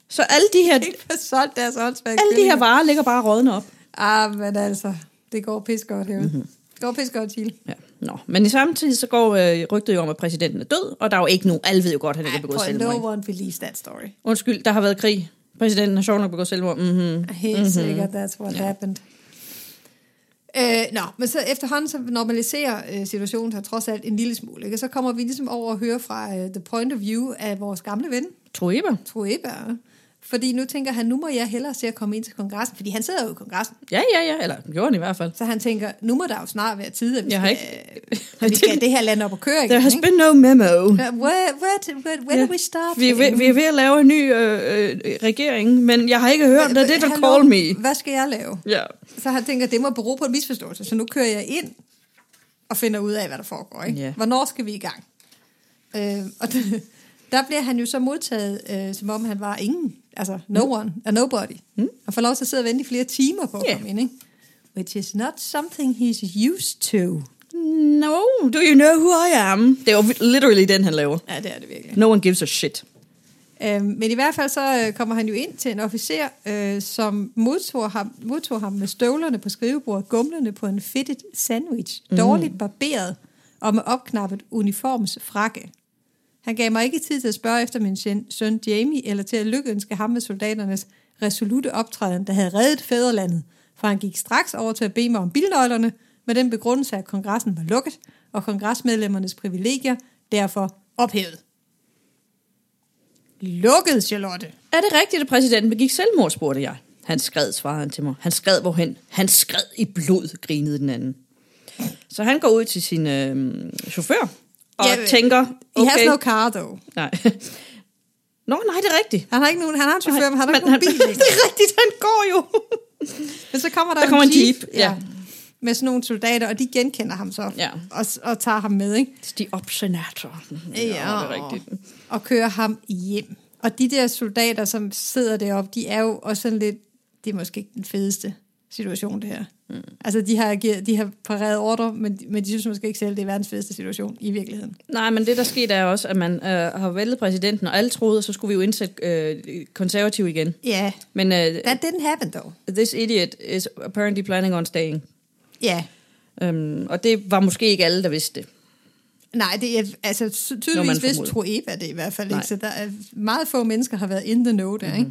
[SPEAKER 2] Så alle de her,
[SPEAKER 1] ikke få solgt deres åndssvage
[SPEAKER 2] alle de her varer ligger bare rådne op.
[SPEAKER 1] Ah, men altså, det går pis godt herude. Mm-hmm. Det går pis godt, Chile.
[SPEAKER 2] Ja. Nå. Men i samtidig så går øh, rygtet jo om, at præsidenten er død, og der er jo ikke nogen, alle ved jo godt, at han ikke har begået
[SPEAKER 1] Ej,
[SPEAKER 2] selvmord.
[SPEAKER 1] no
[SPEAKER 2] ikke?
[SPEAKER 1] one believes that story.
[SPEAKER 2] Undskyld, der har været krig. Præsidenten har sjovt nok begået selvmord. Mm-hmm.
[SPEAKER 1] Helt mm-hmm. sikkert, that's what yeah. happened. Øh, nå, men så efterhånden så normaliserer øh, situationen sig trods alt en lille smule. Ikke? Og så kommer vi ligesom over at høre fra øh, the point of view af vores gamle ven,
[SPEAKER 2] Trueba.
[SPEAKER 1] Trueba. Fordi nu tænker han, nu må jeg hellere se at komme ind til kongressen, fordi han sidder jo i kongressen.
[SPEAKER 2] Ja, ja, ja. Eller gjorde han i hvert fald.
[SPEAKER 1] Så han tænker, nu må der jo snart være tid, at vi,
[SPEAKER 2] Jeg har
[SPEAKER 1] skal, at vi skal have det her land op og køre
[SPEAKER 2] There
[SPEAKER 1] igen.
[SPEAKER 2] has
[SPEAKER 1] ikke?
[SPEAKER 2] been no memo.
[SPEAKER 1] Uh, Where, where, to, where, where
[SPEAKER 2] Ja.
[SPEAKER 1] do we start?
[SPEAKER 2] Vi er, ved, vi er ved at lave en ny øh, øh, regering, men jeg har ikke hørt, det det, der
[SPEAKER 1] Hallo,
[SPEAKER 2] call me.
[SPEAKER 1] Hvad skal jeg lave?
[SPEAKER 2] Ja.
[SPEAKER 1] Så han tænker, det må bero på en misforståelse, så nu kører jeg ind og finder ud af, hvad der foregår. Ikke?
[SPEAKER 2] Ja.
[SPEAKER 1] Hvornår skal vi i gang? Øh, og det, der bliver han jo så modtaget, øh, som om han var ingen. Altså, no one og nobody. Mm. Og får lov til at sidde og vente i flere timer på at
[SPEAKER 2] Ja.
[SPEAKER 1] komme ind. Ikke? Which is not something he's used to.
[SPEAKER 2] No, do you know who I am? Det er jo literally den, han laver.
[SPEAKER 1] Ja, det er det virkelig.
[SPEAKER 2] No one gives a shit.
[SPEAKER 1] Øhm, men i hvert fald så øh, kommer han jo ind til en officer, øh, som modtog ham, modtog ham med støvlerne på skrivebordet, gumlerne på en fedtet sandwich, mm. dårligt barberet og med opknappet uniformsfrakke. Han gav mig ikke tid til at spørge efter min sjen- søn Jamie, eller til at lykønske ham med soldaternes resolute optræden, der havde reddet fædrelandet, for han gik straks over til at bede mig om bilnøglerne, med den begrundelse, at kongressen var lukket, og kongresmedlemmernes privilegier derfor ophævet. Lukket, Charlotte.
[SPEAKER 2] Er det rigtigt, at præsidenten begik selvmord, spurgte jeg. Han skred, svarede han til mig. Han skred hvorhen? Han skred i blod, grinede den anden. Så han går ud til sin øh, chauffør og
[SPEAKER 1] Ja,
[SPEAKER 2] ja, tænker...
[SPEAKER 1] Okay. He has
[SPEAKER 2] Okay,
[SPEAKER 1] no car, though.
[SPEAKER 2] nej. Nå, nej, det er rigtigt.
[SPEAKER 1] Han har ikke nogen, han har en chauffør, men han har ikke
[SPEAKER 2] han,
[SPEAKER 1] nogen bil.
[SPEAKER 2] det er rigtigt, han går jo.
[SPEAKER 1] Men så kommer der,
[SPEAKER 2] Der kommer en
[SPEAKER 1] en jeep,
[SPEAKER 2] jeep, ja.
[SPEAKER 1] med sådan nogle soldater, og de genkender ham så,
[SPEAKER 2] Ja.
[SPEAKER 1] og, og tager ham med, ikke?
[SPEAKER 2] De obsenator. Ja, det er rigtigt.
[SPEAKER 1] Og kører ham hjem. Og de der soldater, som sidder deroppe, de er jo også sådan lidt, det er måske ikke den fedeste situation, det her. Mm. Altså, de har, ageret, de har pareret ordre, men, men de synes måske ikke selv, det er verdens fedeste situation i virkeligheden.
[SPEAKER 2] Nej, men det der skete er også, at man øh, har væltet præsidenten, og alle troede, at så skulle vi jo indsætte øh, konservativ igen.
[SPEAKER 1] Ja,
[SPEAKER 2] Men øh,
[SPEAKER 1] that didn't happen, though.
[SPEAKER 2] this idiot is apparently planning on staying.
[SPEAKER 1] Ja,
[SPEAKER 2] Øhm, og det var måske ikke alle, der vidste det.
[SPEAKER 1] Nej, det er, altså, ty-
[SPEAKER 2] Når man
[SPEAKER 1] tydeligvis vidste
[SPEAKER 2] formoder.
[SPEAKER 1] tror Eva det i hvert fald
[SPEAKER 2] Nej.
[SPEAKER 1] ikke, så der er meget få mennesker har været in the know der, mm-hmm. ikke?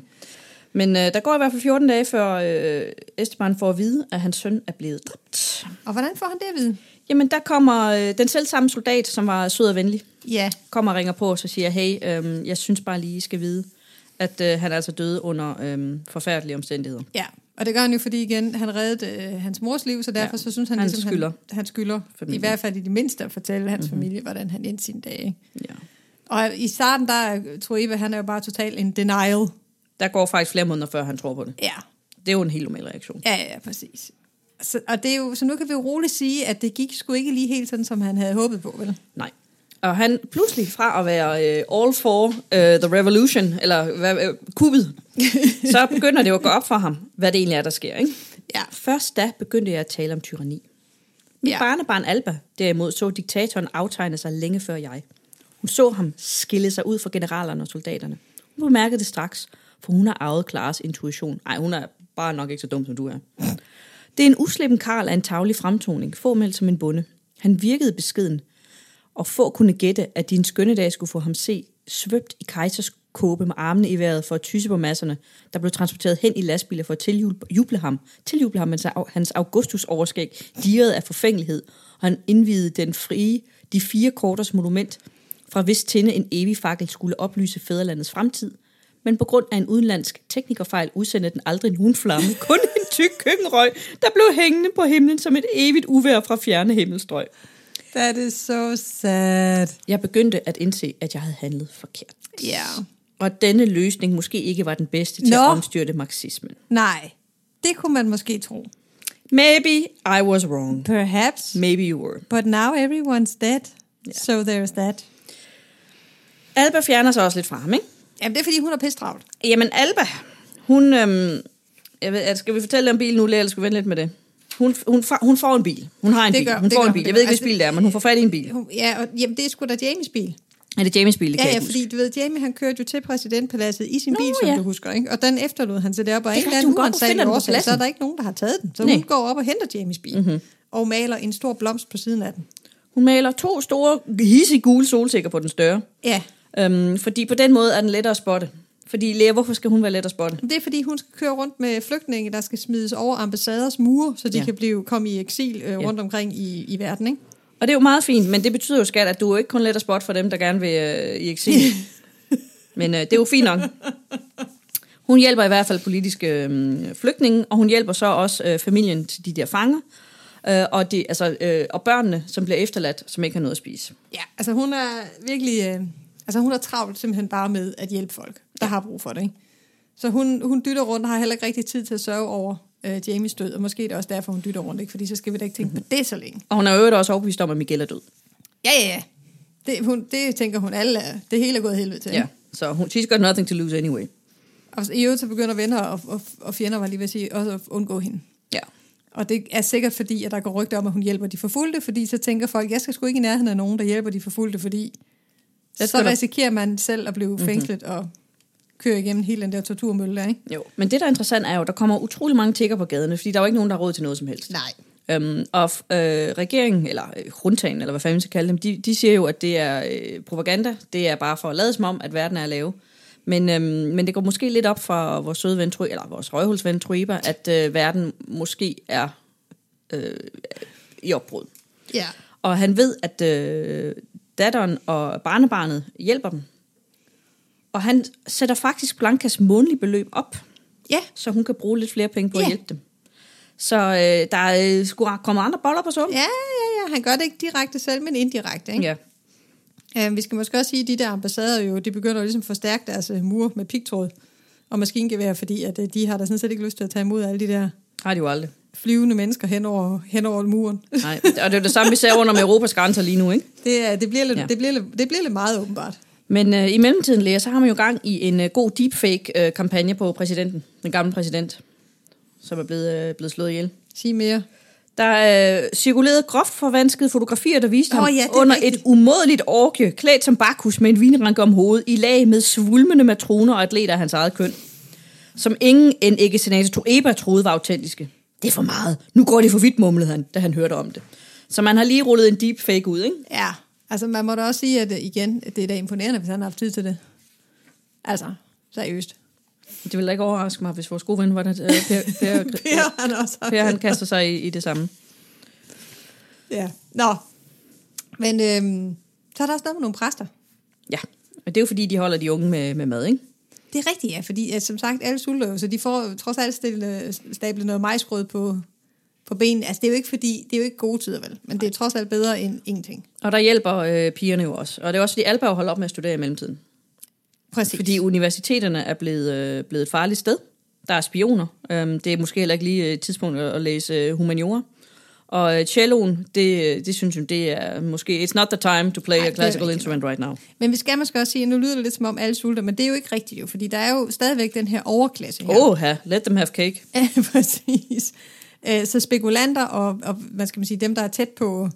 [SPEAKER 2] Men øh, der går i hvert fald 14 dage, før øh, Esteban får at vide, at hans søn er blevet dræbt.
[SPEAKER 1] Og hvordan får han det at vide?
[SPEAKER 2] Jamen, der kommer øh, den selv samme soldat, som var sød og venlig,
[SPEAKER 1] Ja,
[SPEAKER 2] kommer og ringer på, og så siger, hey, øh, jeg synes bare lige, I skal vide, at øh, han er altså døde under øh, forfærdelige omstændigheder.
[SPEAKER 1] ja. Og det gør han jo, fordi igen, han reddede øh, hans mors liv, så derfor ja.
[SPEAKER 2] Ja,
[SPEAKER 1] så synes han,
[SPEAKER 2] han
[SPEAKER 1] ligesom,
[SPEAKER 2] skylder.
[SPEAKER 1] han, han skylder i
[SPEAKER 2] Familien.
[SPEAKER 1] hvert fald i det mindste at fortælle hans mm-hmm. familie, hvordan han endte sine dage. ikke?
[SPEAKER 2] Ja.
[SPEAKER 1] Og i starten, der er- tror Eva, han er jo bare totalt en denial.
[SPEAKER 2] Der går faktisk flere måneder, før han tror på det.
[SPEAKER 1] Ja,
[SPEAKER 2] Det er jo en helt normal reaktion.
[SPEAKER 1] ja, ja, præcis. Så, og det er jo, så nu kan vi jo roligt sige, at det gik sgu ikke lige helt sådan, som han havde håbet på, vel?
[SPEAKER 2] Nej. Og han pludselig fra at være øh, all for øh, the revolution, eller hvad, øh, kuppet, så begynder det jo at gå op for ham, hvad det egentlig er, der sker. Ikke?
[SPEAKER 1] Ja.
[SPEAKER 2] Først da begyndte jeg at tale om tyranni. Mit
[SPEAKER 1] Ja.
[SPEAKER 2] ja. barnebarn Alba derimod så diktatoren aftegne sig længe før jeg. Hun så ham skille sig ud fra generalerne og soldaterne. Hun bemærkede det straks, for hun har arvet Klares intuition. Nej, hun er bare nok ikke så dum, som du er. Det er en uslippen karl af en tavlig fremtoning, formelt som en bonde. Han virkede beskeden, og få kunne gætte, at din skønne dag skulle få ham se svøbt i kejsers kåbe med armene i vejret for at tyse på masserne, der blev transporteret hen i lastbiler for at tiljuble ham. Tiljuble ham, mens au- hans Augustus overskæg dirrede af forfængelighed, og han indvidede den frie, de fire korters monument, fra hvis tinde en evig fakkel skulle oplyse fædrelandets fremtid, men på grund af en udenlandsk teknikerfejl udsendte den aldrig nogen flamme, kun en tyk køkkenrøg, der blev hængende på himlen som et evigt uvær fra fjerne himmelstrøg.
[SPEAKER 1] That is so sad.
[SPEAKER 2] Jeg begyndte at indse, at jeg havde handlet forkert.
[SPEAKER 1] Ja. Yeah.
[SPEAKER 2] Og at denne løsning måske ikke var den bedste til
[SPEAKER 1] Nå.
[SPEAKER 2] at omstyrte marxismen.
[SPEAKER 1] Nej, det kunne man måske tro.
[SPEAKER 2] Maybe I was wrong.
[SPEAKER 1] Perhaps.
[SPEAKER 2] Maybe you were.
[SPEAKER 1] But now everyone's dead. Yeah. So there's that.
[SPEAKER 2] Alba fjerner sig også lidt fra ham, ikke?
[SPEAKER 1] Jamen, det er, fordi hun er pisse travlt.
[SPEAKER 2] Jamen, Alba, hun... Øhm, jeg ved, skal vi fortælle om bilen nu, eller skal vi vente lidt med det? Hun, hun, fa- hun får en bil. Hun har en
[SPEAKER 1] Det
[SPEAKER 2] bil.
[SPEAKER 1] gør-
[SPEAKER 2] hun
[SPEAKER 1] det
[SPEAKER 2] får
[SPEAKER 1] gør
[SPEAKER 2] en
[SPEAKER 1] hun,
[SPEAKER 2] bil.
[SPEAKER 1] det
[SPEAKER 2] Jeg
[SPEAKER 1] gør-
[SPEAKER 2] ved ikke,
[SPEAKER 1] altså-
[SPEAKER 2] hvilken bil det er, men hun får fat i en bil.
[SPEAKER 1] Hun, ja, og, jamen, det er sgu da Jamies bil.
[SPEAKER 2] Er det Jamies bil, det kan
[SPEAKER 1] Ja,
[SPEAKER 2] jeg
[SPEAKER 1] ja,
[SPEAKER 2] ikke huske.
[SPEAKER 1] fordi du ved, Jamie han kørte jo til præsidentpaladset i sin
[SPEAKER 2] Nå,
[SPEAKER 1] Nå, bil, som
[SPEAKER 2] ja.
[SPEAKER 1] ja. du husker, ikke? Og den efterlod han til deroppe, og
[SPEAKER 2] er
[SPEAKER 1] ikke
[SPEAKER 2] rigtigt, hun går op og finder den på
[SPEAKER 1] årsag, så er
[SPEAKER 2] pladsen.
[SPEAKER 1] der ikke nogen, der har taget den. Så
[SPEAKER 2] Nej.
[SPEAKER 1] hun går op og henter Jamies bil, mm-hmm. og maler en stor blomst på siden af den.
[SPEAKER 2] Hun maler to store, hissige gule solsikker på den større.
[SPEAKER 1] Ja,
[SPEAKER 2] Øhm, fordi på den måde er den lettere at spotte. Fordi, Lea, hvorfor skal hun være let at spotte?
[SPEAKER 1] det er fordi, hun skal køre rundt med flygtninge, der skal smides over ambassaders mure, så de
[SPEAKER 2] Ja.
[SPEAKER 1] ja. kan blive komme i eksil øh, rundt omkring i, i verden, ikke?
[SPEAKER 2] Og det er jo meget fint, men det betyder jo, skat, at du er jo ikke kun let at spotte for dem, der gerne vil øh, i eksil. men øh, det er jo fint nok. Hun hjælper i hvert fald politiske øh, flygtninge, og hun hjælper så også øh, familien til de der fanger, øh, og, de, altså, øh, og børnene, som bliver efterladt, som ikke har noget at spise.
[SPEAKER 1] Ja, altså hun er virkelig... Øh, altså hun er travlt simpelthen bare med at hjælpe folk, der har brug for det. Ikke? Så hun, hun dytter rundt og har heller ikke rigtig tid til at sørge over øh, Jamies død. Og måske er det også derfor, hun dytter rundt, ikke? fordi så skal vi da ikke tænke mm-hmm. på det så længe.
[SPEAKER 2] Og hun er jo øvrigt også overbevist om, at Miguel er død.
[SPEAKER 1] Ja, ja, ja. Det, hun, det tænker hun alle er. Det hele er gået helvede til.
[SPEAKER 2] Ja.
[SPEAKER 1] ikke?
[SPEAKER 2] Så hun, she's got nothing to lose anyway.
[SPEAKER 1] Og i øvrigt så begynder venner og, og, og fjender, var jeg lige ved at sige, også at undgå hende.
[SPEAKER 2] Ja.
[SPEAKER 1] Og det er sikkert fordi, at der går rygter om, at hun hjælper de forfulgte, fordi så tænker folk, jeg skal sgu ikke i nærheden af nogen, der Mhm. hjælper de forfulgte, fordi
[SPEAKER 2] Jeg
[SPEAKER 1] så
[SPEAKER 2] skal da-
[SPEAKER 1] risikerer man selv at blive fængslet mm-hmm. og kører igennem hele den der torturmølle der, ikke?
[SPEAKER 2] Jo, men det, der er interessant, er jo, at der kommer utrolig mange tigger på gaderne, fordi der er jo ikke nogen, der har råd til noget som helst.
[SPEAKER 1] Nej.
[SPEAKER 2] Øhm, og f- øh, regeringen, eller øh, juntaen, eller hvad fanden vi skal kalde dem, de, de siger jo, at det er øh, propaganda. Det er bare for at lade som om, at verden er lave. Men, øhm, men det går måske lidt op for vores søde ven, Tru- eller vores røghulsven Trueba, at øh, verden måske er øh, i opbrud.
[SPEAKER 1] Ja.
[SPEAKER 2] Og han ved, at øh, datteren og barnebarnet hjælper dem. Og han sætter faktisk Blankas månedlige beløb op,
[SPEAKER 1] Ja.
[SPEAKER 2] så hun kan bruge lidt flere penge på at
[SPEAKER 1] Ja.
[SPEAKER 2] hjælpe dem. Så øh, der er øh, sgu kommer andre boller på suppen.
[SPEAKER 1] Ja, ja, ja. Han gør det ikke direkte selv, men indirekte, ikke?
[SPEAKER 2] Ja.
[SPEAKER 1] Ja. vi skal måske også sige, at de der ambassader jo, det begynder jo ligesom at forstærke deres øh, mure med pigtråd og maskingevær, fordi at, øh, de har da sådan set ikke lyst til at tage imod alle de der
[SPEAKER 2] Har de jo aldrig.
[SPEAKER 1] flyvende mennesker hen over, hen over muren.
[SPEAKER 2] Nej. Og det er jo det samme, vi ser rundt om Europas grænser lige nu, ikke?
[SPEAKER 1] Det, er, det, bliver lidt,
[SPEAKER 2] Ja.
[SPEAKER 1] ja. det, bliver, lidt- det bliver lidt meget åbenbart.
[SPEAKER 2] Men øh, i mellemtiden, Lea, så har man jo gang i en øh, god deepfake-kampagne på præsidenten. Den gamle præsident, som er blevet, øh, blevet slået ihjel.
[SPEAKER 1] Sig mere.
[SPEAKER 2] Der øh, cirkulerede groft forvanskede fotografier, der viste
[SPEAKER 1] Åh,
[SPEAKER 2] ham
[SPEAKER 1] ja, det er
[SPEAKER 2] under
[SPEAKER 1] rigtigt.
[SPEAKER 2] et umådeligt orke, klædt som bakhus med en vinranke om hovedet, i lag med svulmende matroner og atleter af hans eget køn, som ingen end ikke senator Eba troede var autentiske. Det er for meget. Nu går det for vidt, mumlede han, da han hørte om det. Så man har lige rullet en deepfake ud, ikke?
[SPEAKER 1] Ja, altså man må da også sige, at øh, igen, det er da imponerende, hvis han har haft tid til det. Altså, seriøst.
[SPEAKER 2] Det ville da ikke overraske mig, hvis vores gode ven var det, øh, per, per, per,
[SPEAKER 1] Per, han også har
[SPEAKER 2] per, han kaster sig i, i det samme.
[SPEAKER 1] Ja, nå. Men øhm, så er der også noget med nogle præster.
[SPEAKER 2] Ja, og det er jo fordi, de holder de unge med, med mad, ikke?
[SPEAKER 1] Det er rigtigt, ja, fordi at, som sagt, alle sulter jo, så de får trods alt stille, stablet noget majsgrød på, på benene. Altså, det er jo ikke fordi, det er jo ikke gode tider, vel? Men det er trods alt bedre end ingenting.
[SPEAKER 2] Og der hjælper øh, pigerne jo også. Og det er også fordi, Alba jo holder op med at studere i mellemtiden.
[SPEAKER 1] Præcis.
[SPEAKER 2] Fordi universiteterne er blevet, øh, blevet et farligt sted. Der er spioner. Øhm, det er måske heller ikke lige øh, et tidspunkt at, at læse øh, humaniora. Og øh, celloen, det, øh, det synes jeg, det er måske... It's not the time to play
[SPEAKER 1] Nej,
[SPEAKER 2] Ej, a
[SPEAKER 1] det er
[SPEAKER 2] classical
[SPEAKER 1] rigtigt.
[SPEAKER 2] instrument right now.
[SPEAKER 1] Men vi skal måske også sige, at nu lyder det lidt som om alle sulter, men det er jo ikke rigtigt jo, fordi der er jo stadigvæk den her overklasse her.
[SPEAKER 2] Åh, oh, let them have cake.
[SPEAKER 1] Ja, præcis. Øh, Så spekulanter og, og hvad skal man sige, dem, der er tæt på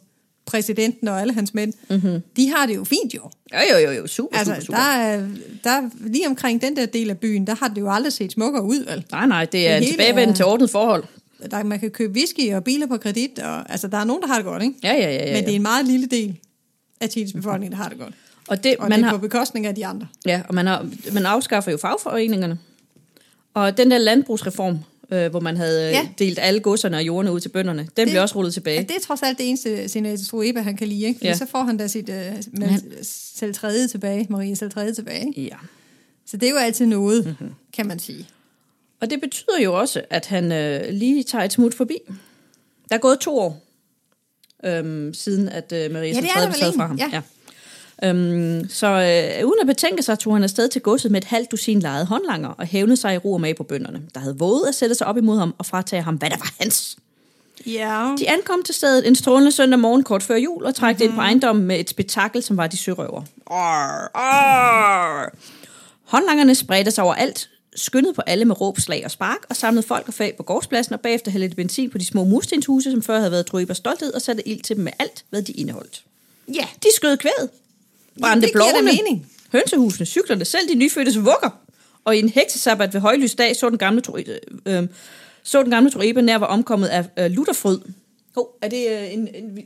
[SPEAKER 1] præsidenten og alle hans mænd, mm-hmm. de har det jo fint jo.
[SPEAKER 2] Jo, jo, jo, jo. Mhm. Super, altså,
[SPEAKER 1] Altså,
[SPEAKER 2] super, super.
[SPEAKER 1] der er, der er, lige omkring den der del af byen, der har det jo aldrig set smukkere ud, vel?
[SPEAKER 2] Nej, nej, det er
[SPEAKER 1] Det
[SPEAKER 2] en
[SPEAKER 1] hele
[SPEAKER 2] tilbagevenden
[SPEAKER 1] er-
[SPEAKER 2] til ordnet forhold.
[SPEAKER 1] Der, man kan købe whisky og biler på kredit, og altså, der er nogen, der har det godt, ikke?
[SPEAKER 2] Ja, ja, ja. ja,
[SPEAKER 1] Men det er
[SPEAKER 2] ja.
[SPEAKER 1] en meget lille del af Chiles befolkning, der har det godt.
[SPEAKER 2] Og det,
[SPEAKER 1] Og
[SPEAKER 2] man
[SPEAKER 1] det er
[SPEAKER 2] har,
[SPEAKER 1] på bekostning af de andre.
[SPEAKER 2] Ja, og man, har, man afskaffer jo fagforeningerne. Og den der landbrugsreform, øh, hvor man havde ja.
[SPEAKER 1] Ja.
[SPEAKER 2] delt alle godserne og jordene ud til bønderne, den det, blev også rullet tilbage.
[SPEAKER 1] Ja, det er trods alt det eneste, senator Trueba, han kan lide, ikke? Fordi
[SPEAKER 2] Ja.
[SPEAKER 1] ja. så får han da sit øh, med, selv tredje tilbage, Maria selv tredje tilbage, ikke?
[SPEAKER 2] Ja.
[SPEAKER 1] Så det er jo altid noget, mm-hmm.
[SPEAKER 2] Mhm.
[SPEAKER 1] kan man sige.
[SPEAKER 2] Og det betyder jo også, at han øh, lige tager et smut forbi. Der er gået to år, øhm, siden at øh, Maria
[SPEAKER 1] Ja, det er
[SPEAKER 2] ja, Centrale
[SPEAKER 1] der
[SPEAKER 2] blev
[SPEAKER 1] vel
[SPEAKER 2] taget fra ham.
[SPEAKER 1] egentlig, ja.
[SPEAKER 2] Øhm, så øh, uden at betænke sig, tog han afsted til godset med et halvt dusin lejede håndlanger og hævnede sig i ro og mag på bønderne, der havde våget at sætte sig op imod ham og fratage ham, hvad der var hans.
[SPEAKER 1] Ja.
[SPEAKER 2] De ankom til stedet en strålende søndag morgen kort før jul og trak mm-hmm. ind på ejendommen med et spektakel, som var de sørøver. Arr, arr. Håndlangerne spredte sig overalt, skyndede på alle med råb, slag og spark, og samlede folk og fag på gårdspladsen, og bagefter hældte benzin på de små murstenshuse, som før havde været Drøbers stolthed, og satte ild til dem med alt, hvad de indeholdt.
[SPEAKER 1] Ja,
[SPEAKER 2] De skød kvædet, brændte
[SPEAKER 1] det giver da
[SPEAKER 2] blovene,
[SPEAKER 1] mening.
[SPEAKER 2] hønsehusene, cyklerne, selv de nyfødtes vugger. Og i en heksesabbat ved højlysdag så den gamle, Troe- øh, øh, så den gamle Troebe nær var omkommet af øh, lutterfrød. Hov, oh, er det øh, en, en, vi-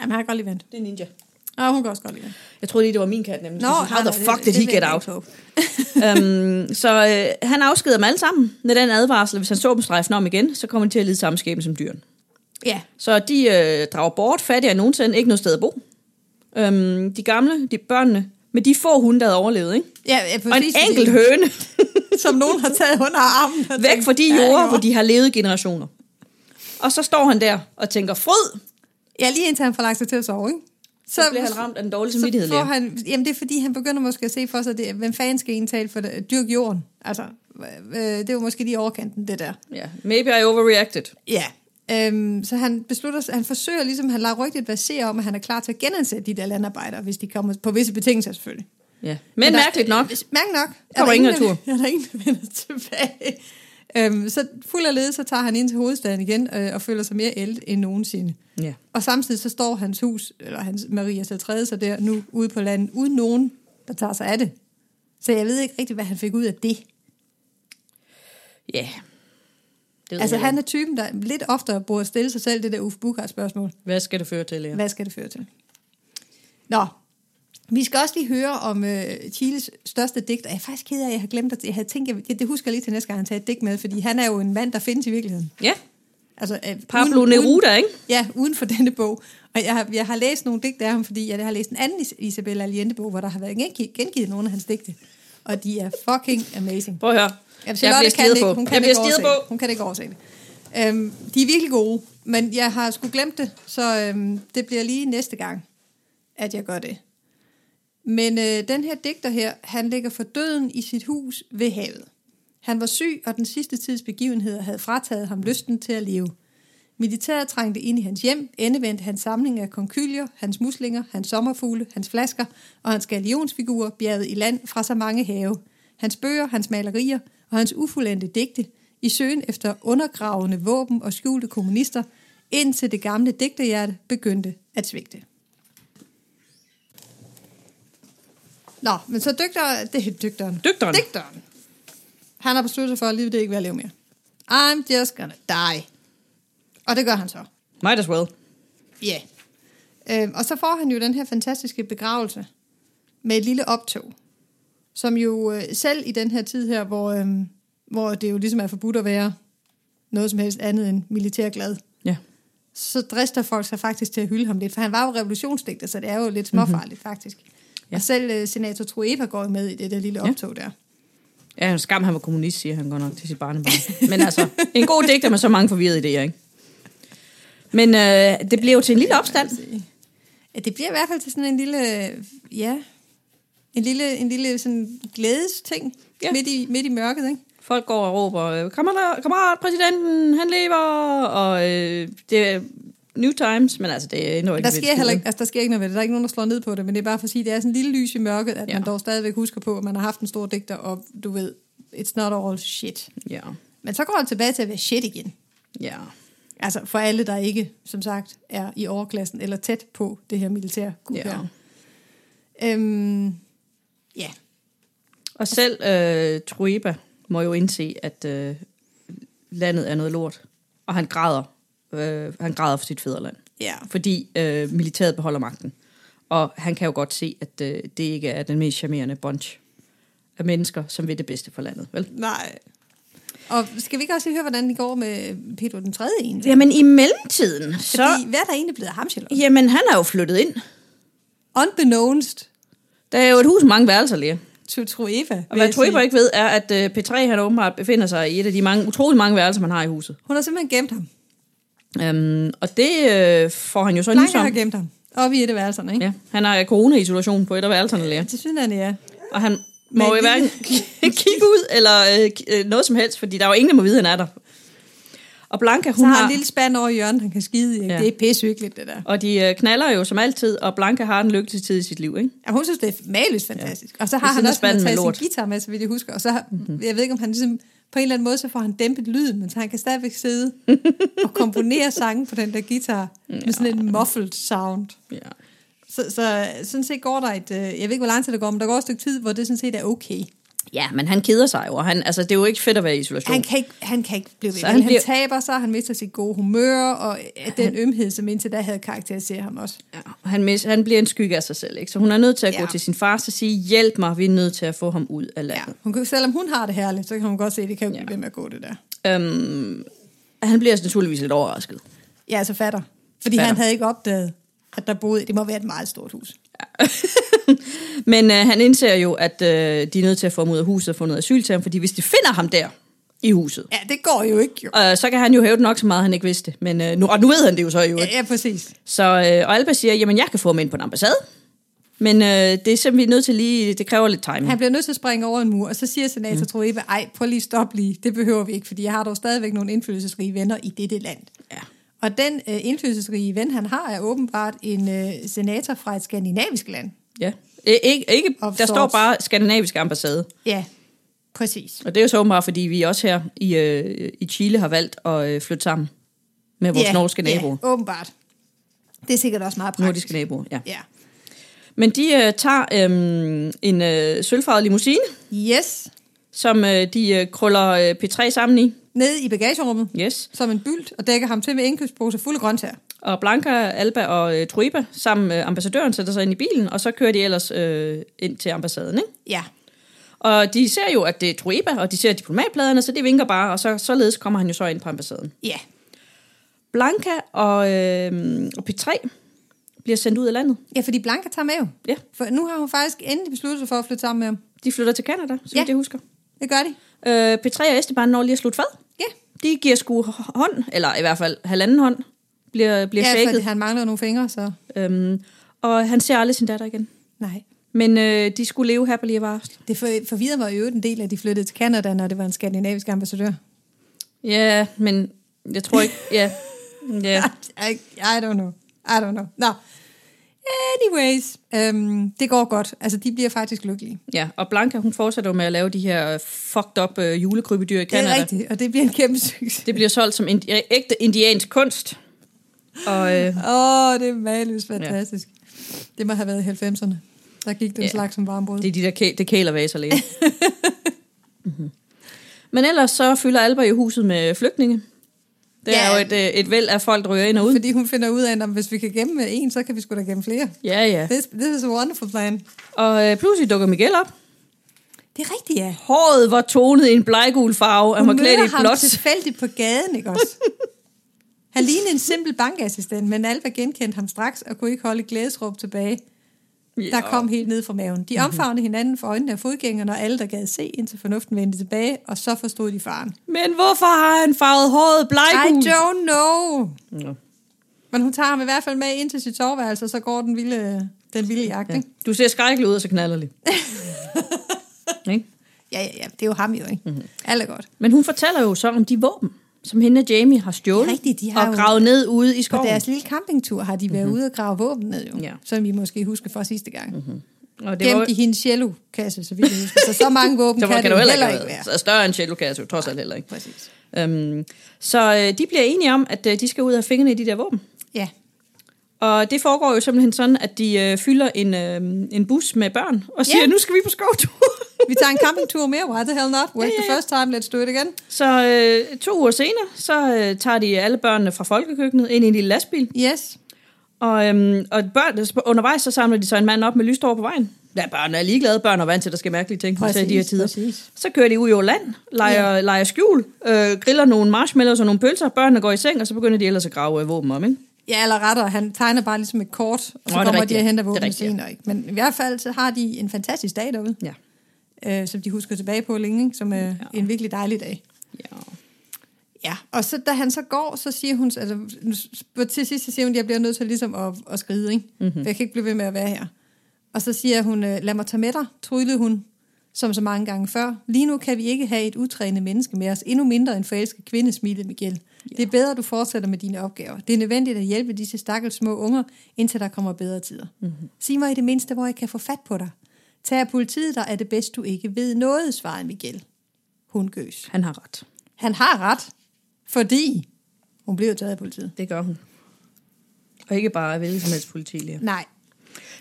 [SPEAKER 1] Jamen, han kan godt lide vand.
[SPEAKER 2] det er ninja?
[SPEAKER 1] Og hun kan også godt lide vand.
[SPEAKER 2] Jeg troede lige, det var min kat nemlig.
[SPEAKER 1] Nå,
[SPEAKER 2] Jeg synes,
[SPEAKER 1] nej,
[SPEAKER 2] How
[SPEAKER 1] nej,
[SPEAKER 2] the
[SPEAKER 1] det-
[SPEAKER 2] fuck did
[SPEAKER 1] det
[SPEAKER 2] he
[SPEAKER 1] vil
[SPEAKER 2] get
[SPEAKER 1] jeg
[SPEAKER 2] out?
[SPEAKER 1] ikke håbe.
[SPEAKER 2] øhm, så øh, han afskeder dem alle sammen med den advarsel, at hvis han så dem strejfen om igen, så kommer de til at lide samme skæbne som dyrene.
[SPEAKER 1] Ja,
[SPEAKER 2] Så de øh, drager bort, fattigere end nogensinde, ikke noget sted at bo. Øhm, de gamle, de børnene, med de få hunde, der havde overlevet, ikke?
[SPEAKER 1] ja, ja
[SPEAKER 2] Og en
[SPEAKER 1] præcis.
[SPEAKER 2] enkelt høne
[SPEAKER 1] høn. Som nogen har taget under armen. og
[SPEAKER 2] væk
[SPEAKER 1] tænkt,
[SPEAKER 2] fra de
[SPEAKER 1] ja,
[SPEAKER 2] jorder,
[SPEAKER 1] jo.
[SPEAKER 2] hvor de har levet generationer. Og så står han der og tænker, fryd!
[SPEAKER 1] Ja, lige indtil han får lagt sig til at sove, ikke?
[SPEAKER 2] Så, bliver han ramt af den dårlige
[SPEAKER 1] så
[SPEAKER 2] samvittighed.
[SPEAKER 1] får
[SPEAKER 2] Lea.
[SPEAKER 1] han, jamen det er fordi, han begynder måske at se for sig, det, hvem fanden skal indtale for det? Dyrk jorden. Altså, øh, det var måske lige i overkanten, det der.
[SPEAKER 2] Ja, maybe I overreacted.
[SPEAKER 1] Ja. Øhm, så han beslutter, sig- han forsøger ligesom, han lader rygtigt versere om, at han er klar til at genansætte de der landarbejdere, hvis de kommer på visse betingelser selvfølgelig.
[SPEAKER 2] Ja. Men
[SPEAKER 1] der-
[SPEAKER 2] mærkeligt nok,
[SPEAKER 1] Mærk nok.
[SPEAKER 2] Kommer ingen
[SPEAKER 1] der-
[SPEAKER 2] retur.
[SPEAKER 1] Er der ingen, der vender tilbage? Øhm, så fuld af lede, så tager han ind til hovedstaden igen øh, og føler sig mere ældet end nogensinde.
[SPEAKER 2] Ja.
[SPEAKER 1] Og samtidig så står hans hus, eller hans Maria Saltrede, så der nu ude på landet, uden nogen, der tager sig af det. Så jeg ved ikke rigtigt, hvad han fik ud af det.
[SPEAKER 2] Ja. Yeah. Det
[SPEAKER 1] Altså, han er typen, der lidt oftere burde stille sig selv det der Uffe Bukart-spørgsmål.
[SPEAKER 2] Hvad skal det føre til, ja?
[SPEAKER 1] Hvad skal det føre til? Nå, vi skal også lige høre om øh, Chiles største digt, og jeg er faktisk ked af, at jeg har glemt at jeg havde tænkt, jeg, det husker jeg lige til næste gang, han tager et digt med, fordi han er jo en mand, der findes i virkeligheden.
[SPEAKER 2] Ja,
[SPEAKER 1] Altså, øh,
[SPEAKER 2] Pablo
[SPEAKER 1] uden- uden-
[SPEAKER 2] Neruda, ikke?
[SPEAKER 1] Ja, uden for denne bog. Og jeg har, jeg har læst nogle digte af ham, fordi jeg har læst en anden Is- Isabella Allende-bog, hvor der har været gengivet, gengivet nogle af hans digte. Og de er fucking amazing.
[SPEAKER 2] Prøv at høre.
[SPEAKER 1] Jamen, Charlotte
[SPEAKER 2] jeg bliver
[SPEAKER 1] kan
[SPEAKER 2] stiget
[SPEAKER 1] ikke,
[SPEAKER 2] på.
[SPEAKER 1] hun kan
[SPEAKER 2] jeg
[SPEAKER 1] ikke
[SPEAKER 2] bliver stiget
[SPEAKER 1] overse
[SPEAKER 2] på.
[SPEAKER 1] det. Hun kan ikke overse det. Øhm, de er virkelig gode, men jeg har sgu glemt det, så øhm, det bliver lige næste gang, at jeg gør det. Men øh, den her digter her, han ligger for døden i sit hus ved havet. Han var syg, og den sidste tids begivenheder havde frataget ham lysten til at leve. Militæret trængte ind i hans hjem, endevendte hans samling af konkyljer, hans muslinger, hans sommerfugle, hans flasker og hans galionsfigurer bjerget i land fra så mange have. Hans bøger, hans malerier og hans ufuldendte digte i søgen efter undergravende våben og skjulte kommunister, indtil det gamle digterhjerte begyndte at svigte. Nå, men så dygter, det er dygteren.
[SPEAKER 2] Dygteren.
[SPEAKER 1] Digteren. Han har besluttet sig for, at livet det ikke vil at leve mere. I'm just gonna die. Og det gør han så.
[SPEAKER 2] Might as well.
[SPEAKER 1] Ja. Yeah. Øh, og så får han jo den her fantastiske begravelse med et lille optog, som jo øh, selv i den her tid her, hvor, øh, hvor det jo ligesom er forbudt at være noget som helst andet end militærglad,
[SPEAKER 2] Ja.
[SPEAKER 1] så drister folk sig faktisk til at hylde ham lidt, for han var jo revolutionsdigter, så det er jo lidt småfarligt mm-hmm. faktisk. Ja.
[SPEAKER 2] Mhm. Ja.
[SPEAKER 1] Og selv øh, senator Trueba går jo med i det der lille
[SPEAKER 2] Ja.
[SPEAKER 1] optog der.
[SPEAKER 2] Ja, en skam, han var kommunist, siger han godt nok til sit barnebarn. Men altså, en god digter med så mange forvirrede idéer, ikke? Men øh, det blev jo til en lille opstand.
[SPEAKER 1] Ja, det bliver i hvert fald til sådan en lille, øh, ja, en lille, en lille sådan glædesting ja.
[SPEAKER 2] Ja.
[SPEAKER 1] midt, i, midt i mørket, ikke?
[SPEAKER 2] Folk går og råber, øh, "Kammerat- kammerat, præsidenten, han lever, og øh, det er New Times, men altså, det er endnu ikke
[SPEAKER 1] Der
[SPEAKER 2] vildt
[SPEAKER 1] sker heller
[SPEAKER 2] skudt,
[SPEAKER 1] ikke, altså, der sker ikke noget ved det. Der er ikke nogen, der slår ned på det, men det er bare for at sige, det er sådan en lille lys i mørket, at ja.
[SPEAKER 2] Ja.
[SPEAKER 1] man dog stadigvæk husker på, at man har haft en stor digter, og du ved, it's not all shit.
[SPEAKER 2] Ja,
[SPEAKER 1] Men så går han tilbage til at være shit igen.
[SPEAKER 2] ja.
[SPEAKER 1] Altså for alle, der ikke, som sagt, er i overklassen eller tæt på det her militær.
[SPEAKER 2] Ja.
[SPEAKER 1] Ja. Øhm, ja.
[SPEAKER 2] Og selv øh, Trueba må jo indse, at øh, landet er noget lort, og han græder. Øh, han græder for sit fædreland.
[SPEAKER 1] Ja.
[SPEAKER 2] fordi øh, militæret beholder magten. Og han kan jo godt se, at øh, det ikke er den mest charmerende bunch af mennesker, som vil det bedste for landet, vel?
[SPEAKER 1] Nej. Og skal vi ikke også lige høre, hvordan det går med Pedro den tredje egentlig?
[SPEAKER 2] Jamen, i mellemtiden, så...
[SPEAKER 1] Fordi, hvad er der egentlig blevet af ham, Charlotte?
[SPEAKER 2] Jamen, han er jo flyttet ind.
[SPEAKER 1] Unbeknownst
[SPEAKER 2] Der er jo et hus med mange værelser, lige.
[SPEAKER 1] to Trueva.
[SPEAKER 2] Og hvad Trøber ikke ved, er, at øh, P3, han åbenbart befinder sig i et af de mange, utrolig mange værelser, man har i huset.
[SPEAKER 1] Hun har simpelthen gemt ham.
[SPEAKER 2] Øhm, og det øh, får han jo så nys
[SPEAKER 1] Blanca har
[SPEAKER 2] om.
[SPEAKER 1] gemt ham. Oppe i et af værelserne, ikke?
[SPEAKER 2] Ja, han har corona-isolation på et af værelserne, lige.
[SPEAKER 1] Ja. Til synes, han ja.
[SPEAKER 2] Og han
[SPEAKER 1] Men
[SPEAKER 2] må jo
[SPEAKER 1] det-
[SPEAKER 2] hverken kigge ud eller øh, k- øh, noget som helst, fordi der er jo ingen, der må vide, han er der. Og Blanca,
[SPEAKER 1] Så
[SPEAKER 2] hun
[SPEAKER 1] har
[SPEAKER 2] har...
[SPEAKER 1] han en lille spand over i hjørnet, han kan skide i. Ja.
[SPEAKER 2] Ja.
[SPEAKER 1] Det er pissehyggeligt, det der.
[SPEAKER 2] Og de øh, knaller jo som altid, og Blanca har en lykkelig tid i sit liv, ikke?
[SPEAKER 1] Ja, hun synes, det er maløst fantastisk. Ja. Og så har
[SPEAKER 2] Ved
[SPEAKER 1] han
[SPEAKER 2] siden af
[SPEAKER 1] også taget
[SPEAKER 2] spanden med
[SPEAKER 1] sin
[SPEAKER 2] lort. Mhm.
[SPEAKER 1] guitar med, så vidt jeg husker. Og så har, mm-hmm. jeg ved ikke, om han ligesom, på en eller anden måde, så får han dæmpet lyden, men så han kan stadigvæk sidde og komponere sange på den der guitar med sådan en muffled sound.
[SPEAKER 2] Ja.
[SPEAKER 1] Så, så sådan set går der et, øh, jeg ved ikke, hvor lang tid det går, men der går et stykke tid, hvor det sådan set er okay.
[SPEAKER 2] ja, men han keder sig jo, og han, altså, det er jo ikke fedt at være i isolation.
[SPEAKER 1] Han kan ikke, han kan ikke blive ved.
[SPEAKER 2] Så
[SPEAKER 1] Han,
[SPEAKER 2] han
[SPEAKER 1] han
[SPEAKER 2] bliver-
[SPEAKER 1] taber sig, han mister sit gode humør, og øh, den ømhed, som indtil da havde karakteriseret ham også.
[SPEAKER 2] Ja, og han, mis, han bliver en skygge af sig selv, ikke? Så hun er nødt til at
[SPEAKER 1] Ja.
[SPEAKER 2] gå til sin far og sige, hjælp mig, vi er nødt til at få ham ud af
[SPEAKER 1] Ja.
[SPEAKER 2] landet.
[SPEAKER 1] Hun kan, selvom hun har det herligt, så kan hun godt se, at det kan jo ikke
[SPEAKER 2] Ja.
[SPEAKER 1] blive ved med at gå det der.
[SPEAKER 2] Ja. Øhm, han bliver naturligvis lidt overrasket.
[SPEAKER 1] Ja, altså fatter. Fordi fatter.
[SPEAKER 2] Fatter.
[SPEAKER 1] han havde ikke opdaget, at der boede, det må være et meget stort hus.
[SPEAKER 2] Men øh, han indser jo, at øh, de er nødt til at få ham ud af huset og få noget asyl til ham, fordi hvis de finder ham der i huset,
[SPEAKER 1] Ja, det går jo ikke jo.
[SPEAKER 2] øh, så kan han jo hæve det nok så meget, han ikke vidste. Men, øh, nu, og nu ved han det jo så jo
[SPEAKER 1] Ja,
[SPEAKER 2] ikke.
[SPEAKER 1] ja præcis.
[SPEAKER 2] Så, øh, og Alba siger, jamen jeg kan få ham ind på en ambassade. Men øh, det er simpelthen nødt til lige, det kræver lidt timing.
[SPEAKER 1] Han bliver nødt til at springe over en mur, og så siger senator mm. Trueba, ej, prøv lige stop lige, det behøver vi ikke, fordi jeg har dog stadigvæk nogle indflydelsesrige venner i dette land.
[SPEAKER 2] Ja.
[SPEAKER 1] Og den øh, indflydelsesrige ven, han har, er åbenbart en øh, senator fra et skandinavisk land.
[SPEAKER 2] ja. I, ikke, ikke,
[SPEAKER 1] Of
[SPEAKER 2] der står
[SPEAKER 1] sorts.
[SPEAKER 2] bare skandinavisk ambassade.
[SPEAKER 1] Ja, præcis.
[SPEAKER 2] Og det er jo så åbenbart, fordi vi også her i, øh, i Chile har valgt at øh, flytte sammen med vores
[SPEAKER 1] ja,
[SPEAKER 2] norske naboer.
[SPEAKER 1] Ja, åbenbart. Det er sikkert også meget praktisk.
[SPEAKER 2] Nordiske naboer, ja.
[SPEAKER 1] Ja.
[SPEAKER 2] Men de øh, tager øh, en øh, sølvfarvet limousine,
[SPEAKER 1] Yes.
[SPEAKER 2] som øh, de øh, krøller øh, P3 sammen i.
[SPEAKER 1] Ned i bagagerummet
[SPEAKER 2] Yes.
[SPEAKER 1] som en bylt og dækker ham til med indkøbsposer fulde grøntsager.
[SPEAKER 2] Og Blanca, Alba og øh, Trueba sammen med ambassadøren sætter sig ind i bilen, og så kører de ellers øh, ind til ambassaden. Ikke?
[SPEAKER 1] Ja.
[SPEAKER 2] Og de ser jo, at det er Trueba, og de ser diplomatpladerne, så de vinker bare, og så, således kommer han jo så ind på ambassaden.
[SPEAKER 1] Ja.
[SPEAKER 2] Blanca og, øh, og P3 bliver sendt ud af landet.
[SPEAKER 1] Ja, fordi Blanca tager med jo.
[SPEAKER 2] Ja.
[SPEAKER 1] For nu har hun faktisk endelig besluttet sig for at flytte sammen med ham.
[SPEAKER 2] De flytter til Canada, så
[SPEAKER 1] Ja.
[SPEAKER 2] ja. jeg husker.
[SPEAKER 1] Det gør de.
[SPEAKER 2] Øh, P3 og Esteban når lige at slutte fad.
[SPEAKER 1] Ja.
[SPEAKER 2] De giver sgu h- hånd, eller i hvert fald halvanden hånd, bliver, bliver
[SPEAKER 1] Ja,
[SPEAKER 2] ja, shaket.
[SPEAKER 1] fordi han mangler nogle fingre, så
[SPEAKER 2] Øhm, og han ser aldrig sin datter igen.
[SPEAKER 1] nej.
[SPEAKER 2] Men øh, de skulle leve happily ever after.
[SPEAKER 1] Det for- forvirrede mig jo en del, at de flyttede til Canada, når det var en skandinavisk ambassadør.
[SPEAKER 2] Ja, men jeg tror ikke... Ja, ja.
[SPEAKER 1] I, I don't know. I don't know. Nå. Anyways, øhm, det går godt. Altså, de bliver faktisk lykkelige.
[SPEAKER 2] ja. Og Blanca, hun fortsætter jo med at lave de her øh, fucked up øh, julegrybedyr i
[SPEAKER 1] Det
[SPEAKER 2] Canada.
[SPEAKER 1] er rigtigt, og det bliver en kæmpe succes.
[SPEAKER 2] Det bliver solgt som indi- ægte indiansk kunst. Og øh,
[SPEAKER 1] Åh, oh, det er maløst fantastisk. Ja. Det må have været i 90'erne. Der gik den
[SPEAKER 2] Ja.
[SPEAKER 1] ja. slags som varmbrud.
[SPEAKER 2] det er de der kæ- det kæler vaser lige. mm-hmm. Men ellers så fylder Alba jo huset med flygtninge. Det er
[SPEAKER 1] Ja.
[SPEAKER 2] jo et, øh, et væld af folk, der ryger ind og ud.
[SPEAKER 1] Fordi hun finder ud af, at hvis vi kan gemme en, så kan vi sgu da gemme flere.
[SPEAKER 2] Ja, ja.
[SPEAKER 1] This, this is a wonderful plan.
[SPEAKER 2] Og øh, pludselig dukker Miguel op.
[SPEAKER 1] Det er rigtigt, ja.
[SPEAKER 2] Håret var tonet i en bleggul farve, og han var klædt i
[SPEAKER 1] ham
[SPEAKER 2] blåt.
[SPEAKER 1] tilfældigt på gaden, ikke også? Han lignede en simpel bankassistent, men Alba genkendte ham straks og kunne ikke holde et glædesråb tilbage, der
[SPEAKER 2] Ja.
[SPEAKER 1] kom helt ned fra maven. De omfavnede hinanden for øjnene af fodgængerne og alle, der gad se, indtil fornuften vendte tilbage, og så forstod de faren.
[SPEAKER 2] Men hvorfor har han farvet håret
[SPEAKER 1] I
[SPEAKER 2] bleggul?
[SPEAKER 1] don't know.
[SPEAKER 2] Nå.
[SPEAKER 1] Men hun tager ham i hvert fald med ind til sit soveværelse, og så går den vilde, den vilde jagt, ja.
[SPEAKER 2] Ja. Du ser skrækkelig ud, og så knaller det. Ikke?
[SPEAKER 1] ja, ja, ja. Det er jo ham jo, ikke? Mm-hmm. Alt er godt.
[SPEAKER 2] Men hun fortæller jo så om de våben, som hende og Jamie har stjålet
[SPEAKER 1] Det er rigtigt, de har
[SPEAKER 2] og
[SPEAKER 1] jo-
[SPEAKER 2] gravet ned ude i
[SPEAKER 1] På
[SPEAKER 2] skoven.
[SPEAKER 1] deres lille campingtur har de været mm-hmm. ude og grave våben ned, jo.
[SPEAKER 2] Ja.
[SPEAKER 1] Som I måske husker fra sidste gang. Mm-hmm.
[SPEAKER 2] Og det var,
[SPEAKER 1] Gemt i hendes cello-kasse, så vidt jeg husker. Så så mange våben
[SPEAKER 2] så
[SPEAKER 1] kan,
[SPEAKER 2] kan,
[SPEAKER 1] det
[SPEAKER 2] kan du
[SPEAKER 1] jo
[SPEAKER 2] heller ikke,
[SPEAKER 1] ikke være.
[SPEAKER 2] Så større end Cello kan jeg jo trods alt heller ikke.
[SPEAKER 1] Præcis.
[SPEAKER 2] Øhm, så øh, de bliver enige om, at øh, de skal ud af fingrene i de der våben.
[SPEAKER 1] Ja.
[SPEAKER 2] Og det foregår jo simpelthen sådan, at de øh, fylder en, øh, en bus med børn og siger,
[SPEAKER 1] Ja.
[SPEAKER 2] nu skal vi på skovtur.
[SPEAKER 1] Vi tager en campingtur mere. Why the hell not? Work
[SPEAKER 2] Ja, ja,
[SPEAKER 1] the
[SPEAKER 2] ja.
[SPEAKER 1] first time, let's do it again.
[SPEAKER 2] så øh, to uger senere, så øh, tager de alle børnene fra folkekøkkenet ind i en lille lastbil.
[SPEAKER 1] Yes.
[SPEAKER 2] Og, øhm, og børn, undervejs så samler de så en mand op med lysstår på vejen. Ja, børn er ligeglade. Børn er vant til, at der skal mærkelige ting præcis, i de her tider.
[SPEAKER 1] præcis.
[SPEAKER 2] Så kører de ud i land, leger, ja. leger skjul, øh, griller nogle marshmallows og nogle pølser. Børnene går i seng, og så begynder de ellers at grave øh, våben om. Ikke?
[SPEAKER 1] Ja, eller rettere, han tegner bare ligesom et kort, og så
[SPEAKER 2] det er
[SPEAKER 1] kommer de
[SPEAKER 2] rigtigt.
[SPEAKER 1] og henter
[SPEAKER 2] Det er
[SPEAKER 1] våben
[SPEAKER 2] rigtigt, ja.
[SPEAKER 1] senere. Ikke? Men i hvert fald så har de en fantastisk dag derude.
[SPEAKER 2] Ja.
[SPEAKER 1] øh, som de husker tilbage på længe, ikke? som er ja.
[SPEAKER 2] Mm,
[SPEAKER 1] en virkelig dejlig dag.
[SPEAKER 2] ja.
[SPEAKER 1] Ja. Og så da han så går, så siger hun, altså, nu s- på- til sidst så siger hun, at jeg bliver nødt til ligesom at, at skride, ikke? Mm-hmm. for jeg kan ikke blive ved med at være her. Og så siger hun, øh, lad mig tage med dig, tryllede hun, som så mange gange før. Lige nu kan vi ikke have et utrænet menneske med os, endnu mindre en forelsket kvinde, smilede Miguel. Ja. Det er bedre, du fortsætter med dine opgaver. Det er nødvendigt at hjælpe disse stakkels små unger, indtil der kommer bedre tider. Mm-hmm. Sig mig i det mindste, hvor jeg kan få fat på dig. Tag af politiet dig, er det bedst, du ikke ved noget, svarede Miguel. Hun gøs.
[SPEAKER 2] Han har ret.
[SPEAKER 1] Han har ret, fordi hun blev taget af politiet.
[SPEAKER 2] Det gør hun. Og ikke bare hvilken som helst politilæger.
[SPEAKER 1] Nej,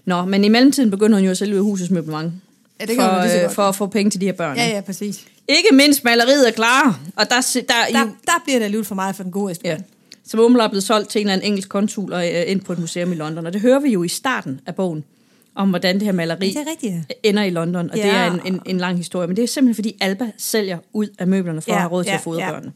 [SPEAKER 2] Nå, men i mellemtiden begynder hun jo at sælge ud af husets møblement.
[SPEAKER 1] Ja, det
[SPEAKER 2] for, øh,
[SPEAKER 1] gør hun lige så godt.
[SPEAKER 2] for at få penge til de her børn.
[SPEAKER 1] ja, ja, præcis.
[SPEAKER 2] Ikke mindst maleriet er klar. Og der, se- der,
[SPEAKER 1] Der,
[SPEAKER 2] der
[SPEAKER 1] der bliver det alligevel for meget for den gode historie.
[SPEAKER 2] Ja. Som åbenbart er blevet solgt til en eller anden engelsk konsul og øh, ind på et museum i London. Og det hører vi jo i starten af bogen, om hvordan det her maleri
[SPEAKER 1] Det er rigtigt, ja.
[SPEAKER 2] ender i London. Og ja. det
[SPEAKER 1] Ja.
[SPEAKER 2] er en, en, en lang historie. Men det er simpelthen, fordi Alba sælger ud af møblerne for ja,
[SPEAKER 1] Ja,
[SPEAKER 2] at have råd til ja,
[SPEAKER 1] ja,
[SPEAKER 2] at fodre ja.
[SPEAKER 1] ja.
[SPEAKER 2] børnene.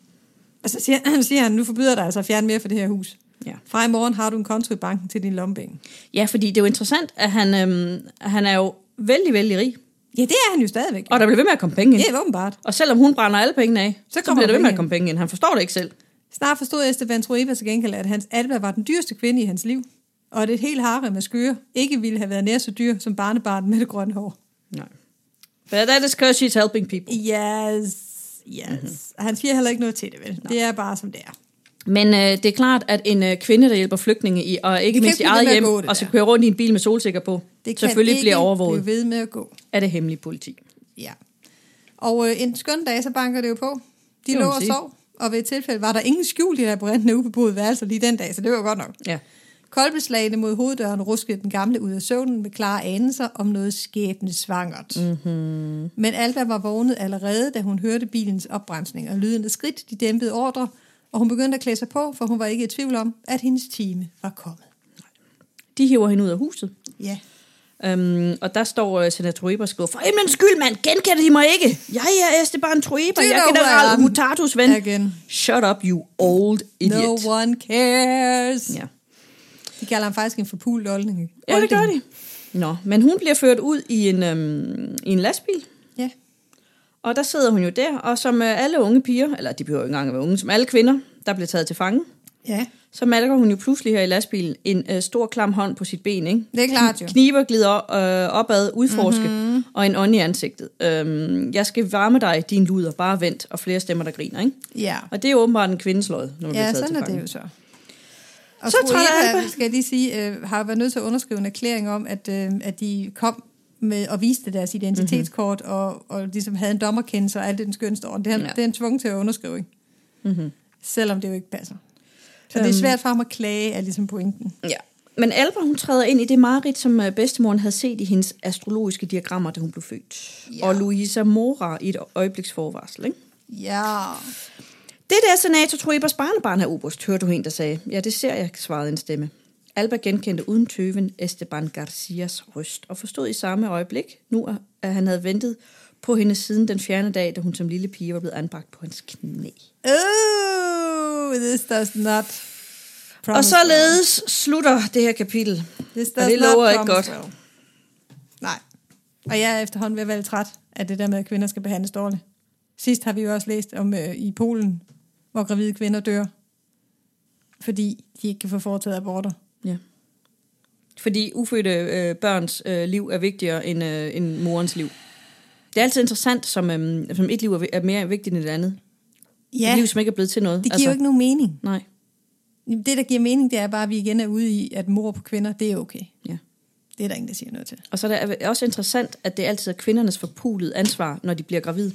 [SPEAKER 1] Og så siger, siger han, nu forbyder dig altså at fjerne mere for det her hus.
[SPEAKER 2] Ja.
[SPEAKER 1] Fra i morgen har du en konto i banken til din lommepenge.
[SPEAKER 2] ja, fordi det er jo interessant, at han, øhm, han er jo vældig, vældig rig.
[SPEAKER 1] Ja, det er han jo stadigvæk.
[SPEAKER 2] Og der bliver ved med at komme penge ind.
[SPEAKER 1] Det er åbenbart.
[SPEAKER 2] Og selvom hun brænder alle pengene af, så, så
[SPEAKER 1] kommer
[SPEAKER 2] bliver
[SPEAKER 1] der
[SPEAKER 2] der ved med
[SPEAKER 1] penge
[SPEAKER 2] at komme penge ind. Han forstår det ikke selv.
[SPEAKER 1] Snart forstod Esteban Trueba til gengæld, at hans Alba var den dyreste kvinde i hans liv, og at et helt harem af skøre ikke ville have været nær så dyr som barnebarnet med det grønne hår.
[SPEAKER 2] Nej. But that is because she's helping people.
[SPEAKER 1] Yes, yes. Mm-hmm. Han siger heller ikke noget til det, vel? Det er bare som det er.
[SPEAKER 2] Men øh, det er klart, at en øh, kvinde, der hjælper flygtninge i, og ikke
[SPEAKER 1] kan
[SPEAKER 2] mindst i
[SPEAKER 1] ikke blive ved
[SPEAKER 2] eget
[SPEAKER 1] med at
[SPEAKER 2] hjem,
[SPEAKER 1] gå, det
[SPEAKER 2] og så
[SPEAKER 1] der.
[SPEAKER 2] kører rundt i en bil med solsikker på,
[SPEAKER 1] Det kan
[SPEAKER 2] selvfølgelig
[SPEAKER 1] ikke
[SPEAKER 2] bliver overvåget
[SPEAKER 1] blive ved med at gå.
[SPEAKER 2] af det hemmelige politi.
[SPEAKER 1] Ja. Og øh, en skøn dag, så banker det jo på. De
[SPEAKER 2] Det må
[SPEAKER 1] lå
[SPEAKER 2] man
[SPEAKER 1] og
[SPEAKER 2] sige.
[SPEAKER 1] sov, og ved et tilfælde var der ingen skjul i labyrinten af ubeboede værelser lige den dag, så det var jo godt nok.
[SPEAKER 2] Ja.
[SPEAKER 1] Kolbeslagene mod hoveddøren ruskede den gamle ud af søvnen med klare anelser om noget skæbne svangert.
[SPEAKER 2] Mhm.
[SPEAKER 1] Mm-hmm. Men Alba var vågnet allerede, da hun hørte bilens opbremsning og lyden af skridt, de dæmpede ordre, og hun begyndte at klæde sig på, for hun var ikke i tvivl om, at hendes time var kommet.
[SPEAKER 2] De hiver hende ud af huset.
[SPEAKER 1] Ja.
[SPEAKER 2] Øhm, og der står uh, senator Troeber og skriver, for himlens skyld, mand, genkender de mig ikke? Jeg er Esteban Troeber,
[SPEAKER 1] Det
[SPEAKER 2] jeg er
[SPEAKER 1] var
[SPEAKER 2] general
[SPEAKER 1] uærlig.
[SPEAKER 2] Mutatus ven.
[SPEAKER 1] Igen.
[SPEAKER 2] Shut up, you old idiot.
[SPEAKER 1] No one cares.
[SPEAKER 2] ja.
[SPEAKER 1] De kalder ham faktisk en forpult oldning.
[SPEAKER 2] ja, det gør de. Nå, men hun bliver ført ud i en, øhm, i en lastbil,
[SPEAKER 1] Ja.
[SPEAKER 2] og der sidder hun jo der, og som øh, alle unge piger, eller de behøver jo ikke engang at være unge, som alle kvinder, der bliver taget til fange,
[SPEAKER 1] ja,
[SPEAKER 2] så malker hun jo pludselig her i lastbilen en øh, stor klam hånd på sit ben, ikke?
[SPEAKER 1] det er klart jo.
[SPEAKER 2] Kniber glider øh, opad, udforske
[SPEAKER 1] Mhm.
[SPEAKER 2] mm-hmm. og en ånd i ansigtet. Øhm, jeg skal varme dig, din luder, bare vent, og flere stemmer, der griner, ikke?
[SPEAKER 1] Ja,
[SPEAKER 2] Og det er jo åbenbart en kvindslød, når man bliver
[SPEAKER 1] ja
[SPEAKER 2] taget
[SPEAKER 1] sådan
[SPEAKER 2] til
[SPEAKER 1] er
[SPEAKER 2] fange.
[SPEAKER 1] det jo så. Og
[SPEAKER 2] Så
[SPEAKER 1] så
[SPEAKER 2] trådte
[SPEAKER 1] tror
[SPEAKER 2] Alba-
[SPEAKER 1] jeg, skal jeg lige sige, øh, har været nødt til at underskrive en erklæring om, at, øh, at de kom med og viste deres identitetskort, mm-hmm. og, og ligesom havde en dommerkendelse og alt det den skønste orden. Det er,
[SPEAKER 2] Mhm. Ja. Mhm.
[SPEAKER 1] ja. det er en tvunget til at underskrive, ikke? Mm-hmm. Selvom det jo ikke passer. Så
[SPEAKER 2] Øhm.
[SPEAKER 1] det er svært for ham at klage, er ligesom pointen.
[SPEAKER 2] Ja. Men Alba, hun træder ind i det mareridt, som øh, bedstemoren havde set i hendes astrologiske diagrammer, da hun blev født. Ja.
[SPEAKER 1] Ja.
[SPEAKER 2] Og Louisa Mora i et øjebliks forvarsel, ikke?
[SPEAKER 1] Ja,
[SPEAKER 2] Det der senator Troebers barnebarn er oberst, hørte du en, der sagde. Ja, det ser jeg, svarede en stemme. Alba genkendte uden tøven Esteban Garcias røst og forstod i samme øjeblik, nu at- at han havde ventet på hende siden den fjerne dag, da hun som lille pige var blevet anbragt på hans knæ.
[SPEAKER 1] Oh, this does not promise
[SPEAKER 2] Og således slutter det her kapitel.
[SPEAKER 1] This does
[SPEAKER 2] Og det
[SPEAKER 1] not
[SPEAKER 2] lover ikke
[SPEAKER 1] promise
[SPEAKER 2] godt.
[SPEAKER 1] well. Nej. Og jeg er efterhånden ved at være lidt træt af det der med, at kvinder skal behandles dårligt. Sidst har vi jo også læst om øh, i Polen, hvor gravide kvinder dør, fordi de ikke kan få foretaget aborter.
[SPEAKER 2] Ja. Fordi ufødte øh, børns øh, liv er vigtigere end, øh, end morens liv. Det er altid interessant, som, øh, som et liv er, vi- er mere vigtigt end et andet. Ja. Et liv, som ikke er blevet til noget.
[SPEAKER 1] det giver altså. jo ikke nogen mening.
[SPEAKER 2] Nej.
[SPEAKER 1] Det, der giver mening, det er bare, at vi igen er ude i, at mor på kvinder, det er okay.
[SPEAKER 2] Ja.
[SPEAKER 1] Det er der ingen, der siger noget til.
[SPEAKER 2] Og så er det også interessant, at det altid er kvindernes forpulede ansvar, når de bliver gravid.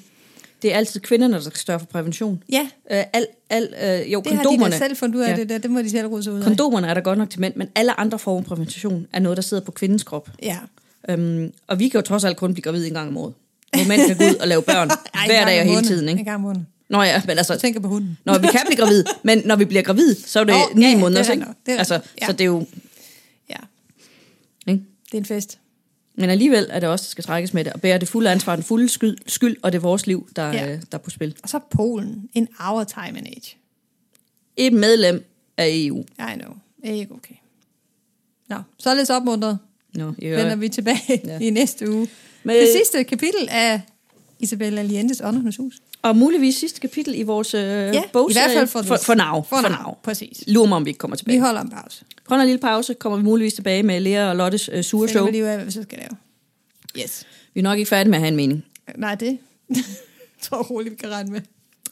[SPEAKER 2] Det er altid kvinderne, der skal større for prævention.
[SPEAKER 1] Ja,
[SPEAKER 2] Øh, al, al, øh, jo,
[SPEAKER 1] det
[SPEAKER 2] kondomerne.
[SPEAKER 1] har de da selv fundet ud af,
[SPEAKER 2] Ja.
[SPEAKER 1] ja. det der. Det må de selv rode sig ud af.
[SPEAKER 2] Kondomerne er der godt nok til mænd, men alle andre former for prævention er noget, der sidder på kvindens krop.
[SPEAKER 1] Ja.
[SPEAKER 2] Øhm, og vi kan jo trods alt kun blive gravid en gang om året. Hvor mænd kan gå ud og lave børn hver dag og hele tiden.
[SPEAKER 1] En
[SPEAKER 2] Ikke?
[SPEAKER 1] gang om måneden.
[SPEAKER 2] Nå ja, men altså,
[SPEAKER 1] Jeg tænker på hunden.
[SPEAKER 2] Nå, vi kan blive gravid, men når vi bliver gravid, så er det
[SPEAKER 1] Åh,
[SPEAKER 2] oh, 9
[SPEAKER 1] ja, ja,
[SPEAKER 2] måneder,
[SPEAKER 1] det er
[SPEAKER 2] ikke?
[SPEAKER 1] nok. Det er-
[SPEAKER 2] altså,
[SPEAKER 1] ja.
[SPEAKER 2] så det er jo...
[SPEAKER 1] Ja,
[SPEAKER 2] Ikke?
[SPEAKER 1] det er en fest.
[SPEAKER 2] Men alligevel er det også, der skal trækkes med det, og bære det fulde ansvar, den fulde skyld, skyld og det er vores liv, der, ja.
[SPEAKER 1] Ja.
[SPEAKER 2] der er på spil.
[SPEAKER 1] Og så Polen. In our time and age.
[SPEAKER 2] Et medlem af E EU.
[SPEAKER 1] I know. Det er ikke okay. Nå, så er det så opmuntret.
[SPEAKER 2] Nå, i
[SPEAKER 1] Ja. Vender
[SPEAKER 2] øvrigt.
[SPEAKER 1] vi tilbage
[SPEAKER 2] Ja.
[SPEAKER 1] ja. i næste uge.
[SPEAKER 2] Men- øh,
[SPEAKER 1] Men... Det sidste kapitel af Isabella Allientes Åndernes Hus.
[SPEAKER 2] Og muligvis sidste kapitel i vores øh, ja, bogserie.
[SPEAKER 1] i hvert fald for,
[SPEAKER 2] for, for now.
[SPEAKER 1] For, for now. Præcis.
[SPEAKER 2] Lurer mig, om vi ikke kommer
[SPEAKER 1] Vi
[SPEAKER 2] tilbage.
[SPEAKER 1] holder en pause.
[SPEAKER 2] Prøv en lille pause, kommer vi muligvis tilbage med Lea og Lottes øh, sure
[SPEAKER 1] Finder
[SPEAKER 2] show.
[SPEAKER 1] vi lige ud af, hvad vi så skal lave. Yes.
[SPEAKER 2] Vi er nok ikke færdige med at have en mening.
[SPEAKER 1] Nej, det tror jeg roligt, vi kan regne med.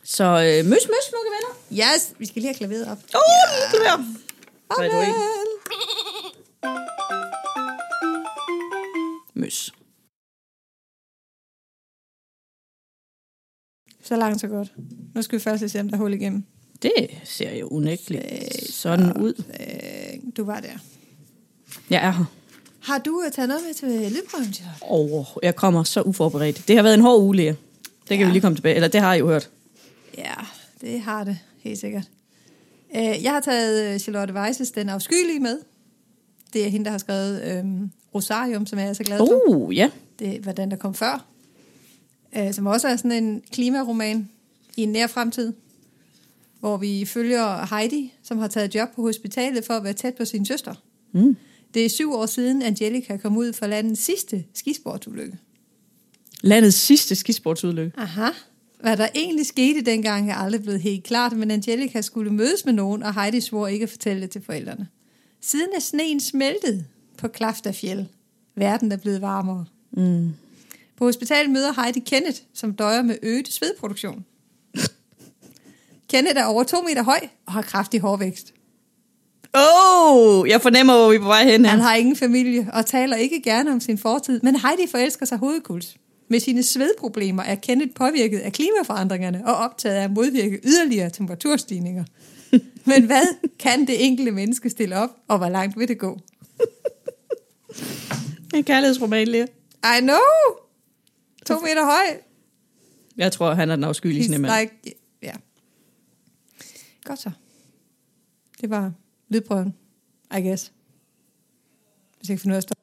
[SPEAKER 2] Så øh, møs, møs, smukke venner.
[SPEAKER 1] Yes, vi skal lige have klaveret op.
[SPEAKER 2] Åh, oh, ja. klaver. Nej, du er ikke.
[SPEAKER 1] Farvel.
[SPEAKER 2] Møs.
[SPEAKER 1] Så langt, så godt. Nu skal vi først lige se, om der er hul igennem.
[SPEAKER 2] Det ser jo unægteligt sådan ud.
[SPEAKER 1] Øh, du var der.
[SPEAKER 2] Jeg er her.
[SPEAKER 1] Har du øh, taget noget med til lydprøven, Charlotte?
[SPEAKER 2] Oh, jeg kommer så uforberedt. Det har været en hård uge, Lea. Det kan ja.
[SPEAKER 1] Ja.
[SPEAKER 2] vi lige komme tilbage. Eller det har jeg jo hørt.
[SPEAKER 1] Ja, det har det, helt sikkert. Øh, Jeg har taget øh, Charlotte Weisses Den Afskyelige med. Det er hende, der har skrevet øhm, Rosarium, som jeg er så glad for.
[SPEAKER 2] Oh, ja.
[SPEAKER 1] Det var den, der kom før. Øh, Som også er sådan en klimaroman i en nær fremtid, hvor vi følger Heidi, som har taget job på hospitalet for at være tæt på sin søster.
[SPEAKER 2] Mm.
[SPEAKER 1] Det er syv år siden, Angelica kom ud for landets sidste skisportsulykke.
[SPEAKER 2] Landets sidste skisportsulykke.
[SPEAKER 1] Aha. Hvad der egentlig skete dengang er aldrig blevet helt klart, men Angelica skulle mødes med nogen, og Heidi svor ikke at fortælle det til forældrene. Siden er sneen smeltet på Klaftafjell. Verden er blevet varmere. Mm. På hospitalet møder Heidi Kenneth, som døjer med øget svedproduktion. Kenneth er over to meter høj og har kraftig hårvækst.
[SPEAKER 2] Åh, oh, jeg fornemmer, hvor vi er på vej hen her.
[SPEAKER 1] Han har ingen familie og taler ikke gerne om sin fortid, men Heidi forelsker sig hovedkuls. Med sine svedproblemer er Kenneth påvirket af klimaforandringerne og optaget af at modvirke yderligere temperaturstigninger. Men hvad kan det enkelte menneske stille op, og hvor langt vil det gå?
[SPEAKER 2] En kærlighedsroman, Lea.
[SPEAKER 1] I know! To meter høj.
[SPEAKER 2] Jeg tror, han er den afskyelige snemand.
[SPEAKER 1] He's like, ja. Godt så. Det var lydprøven, I guess. Hvis jeg kan finde ud af at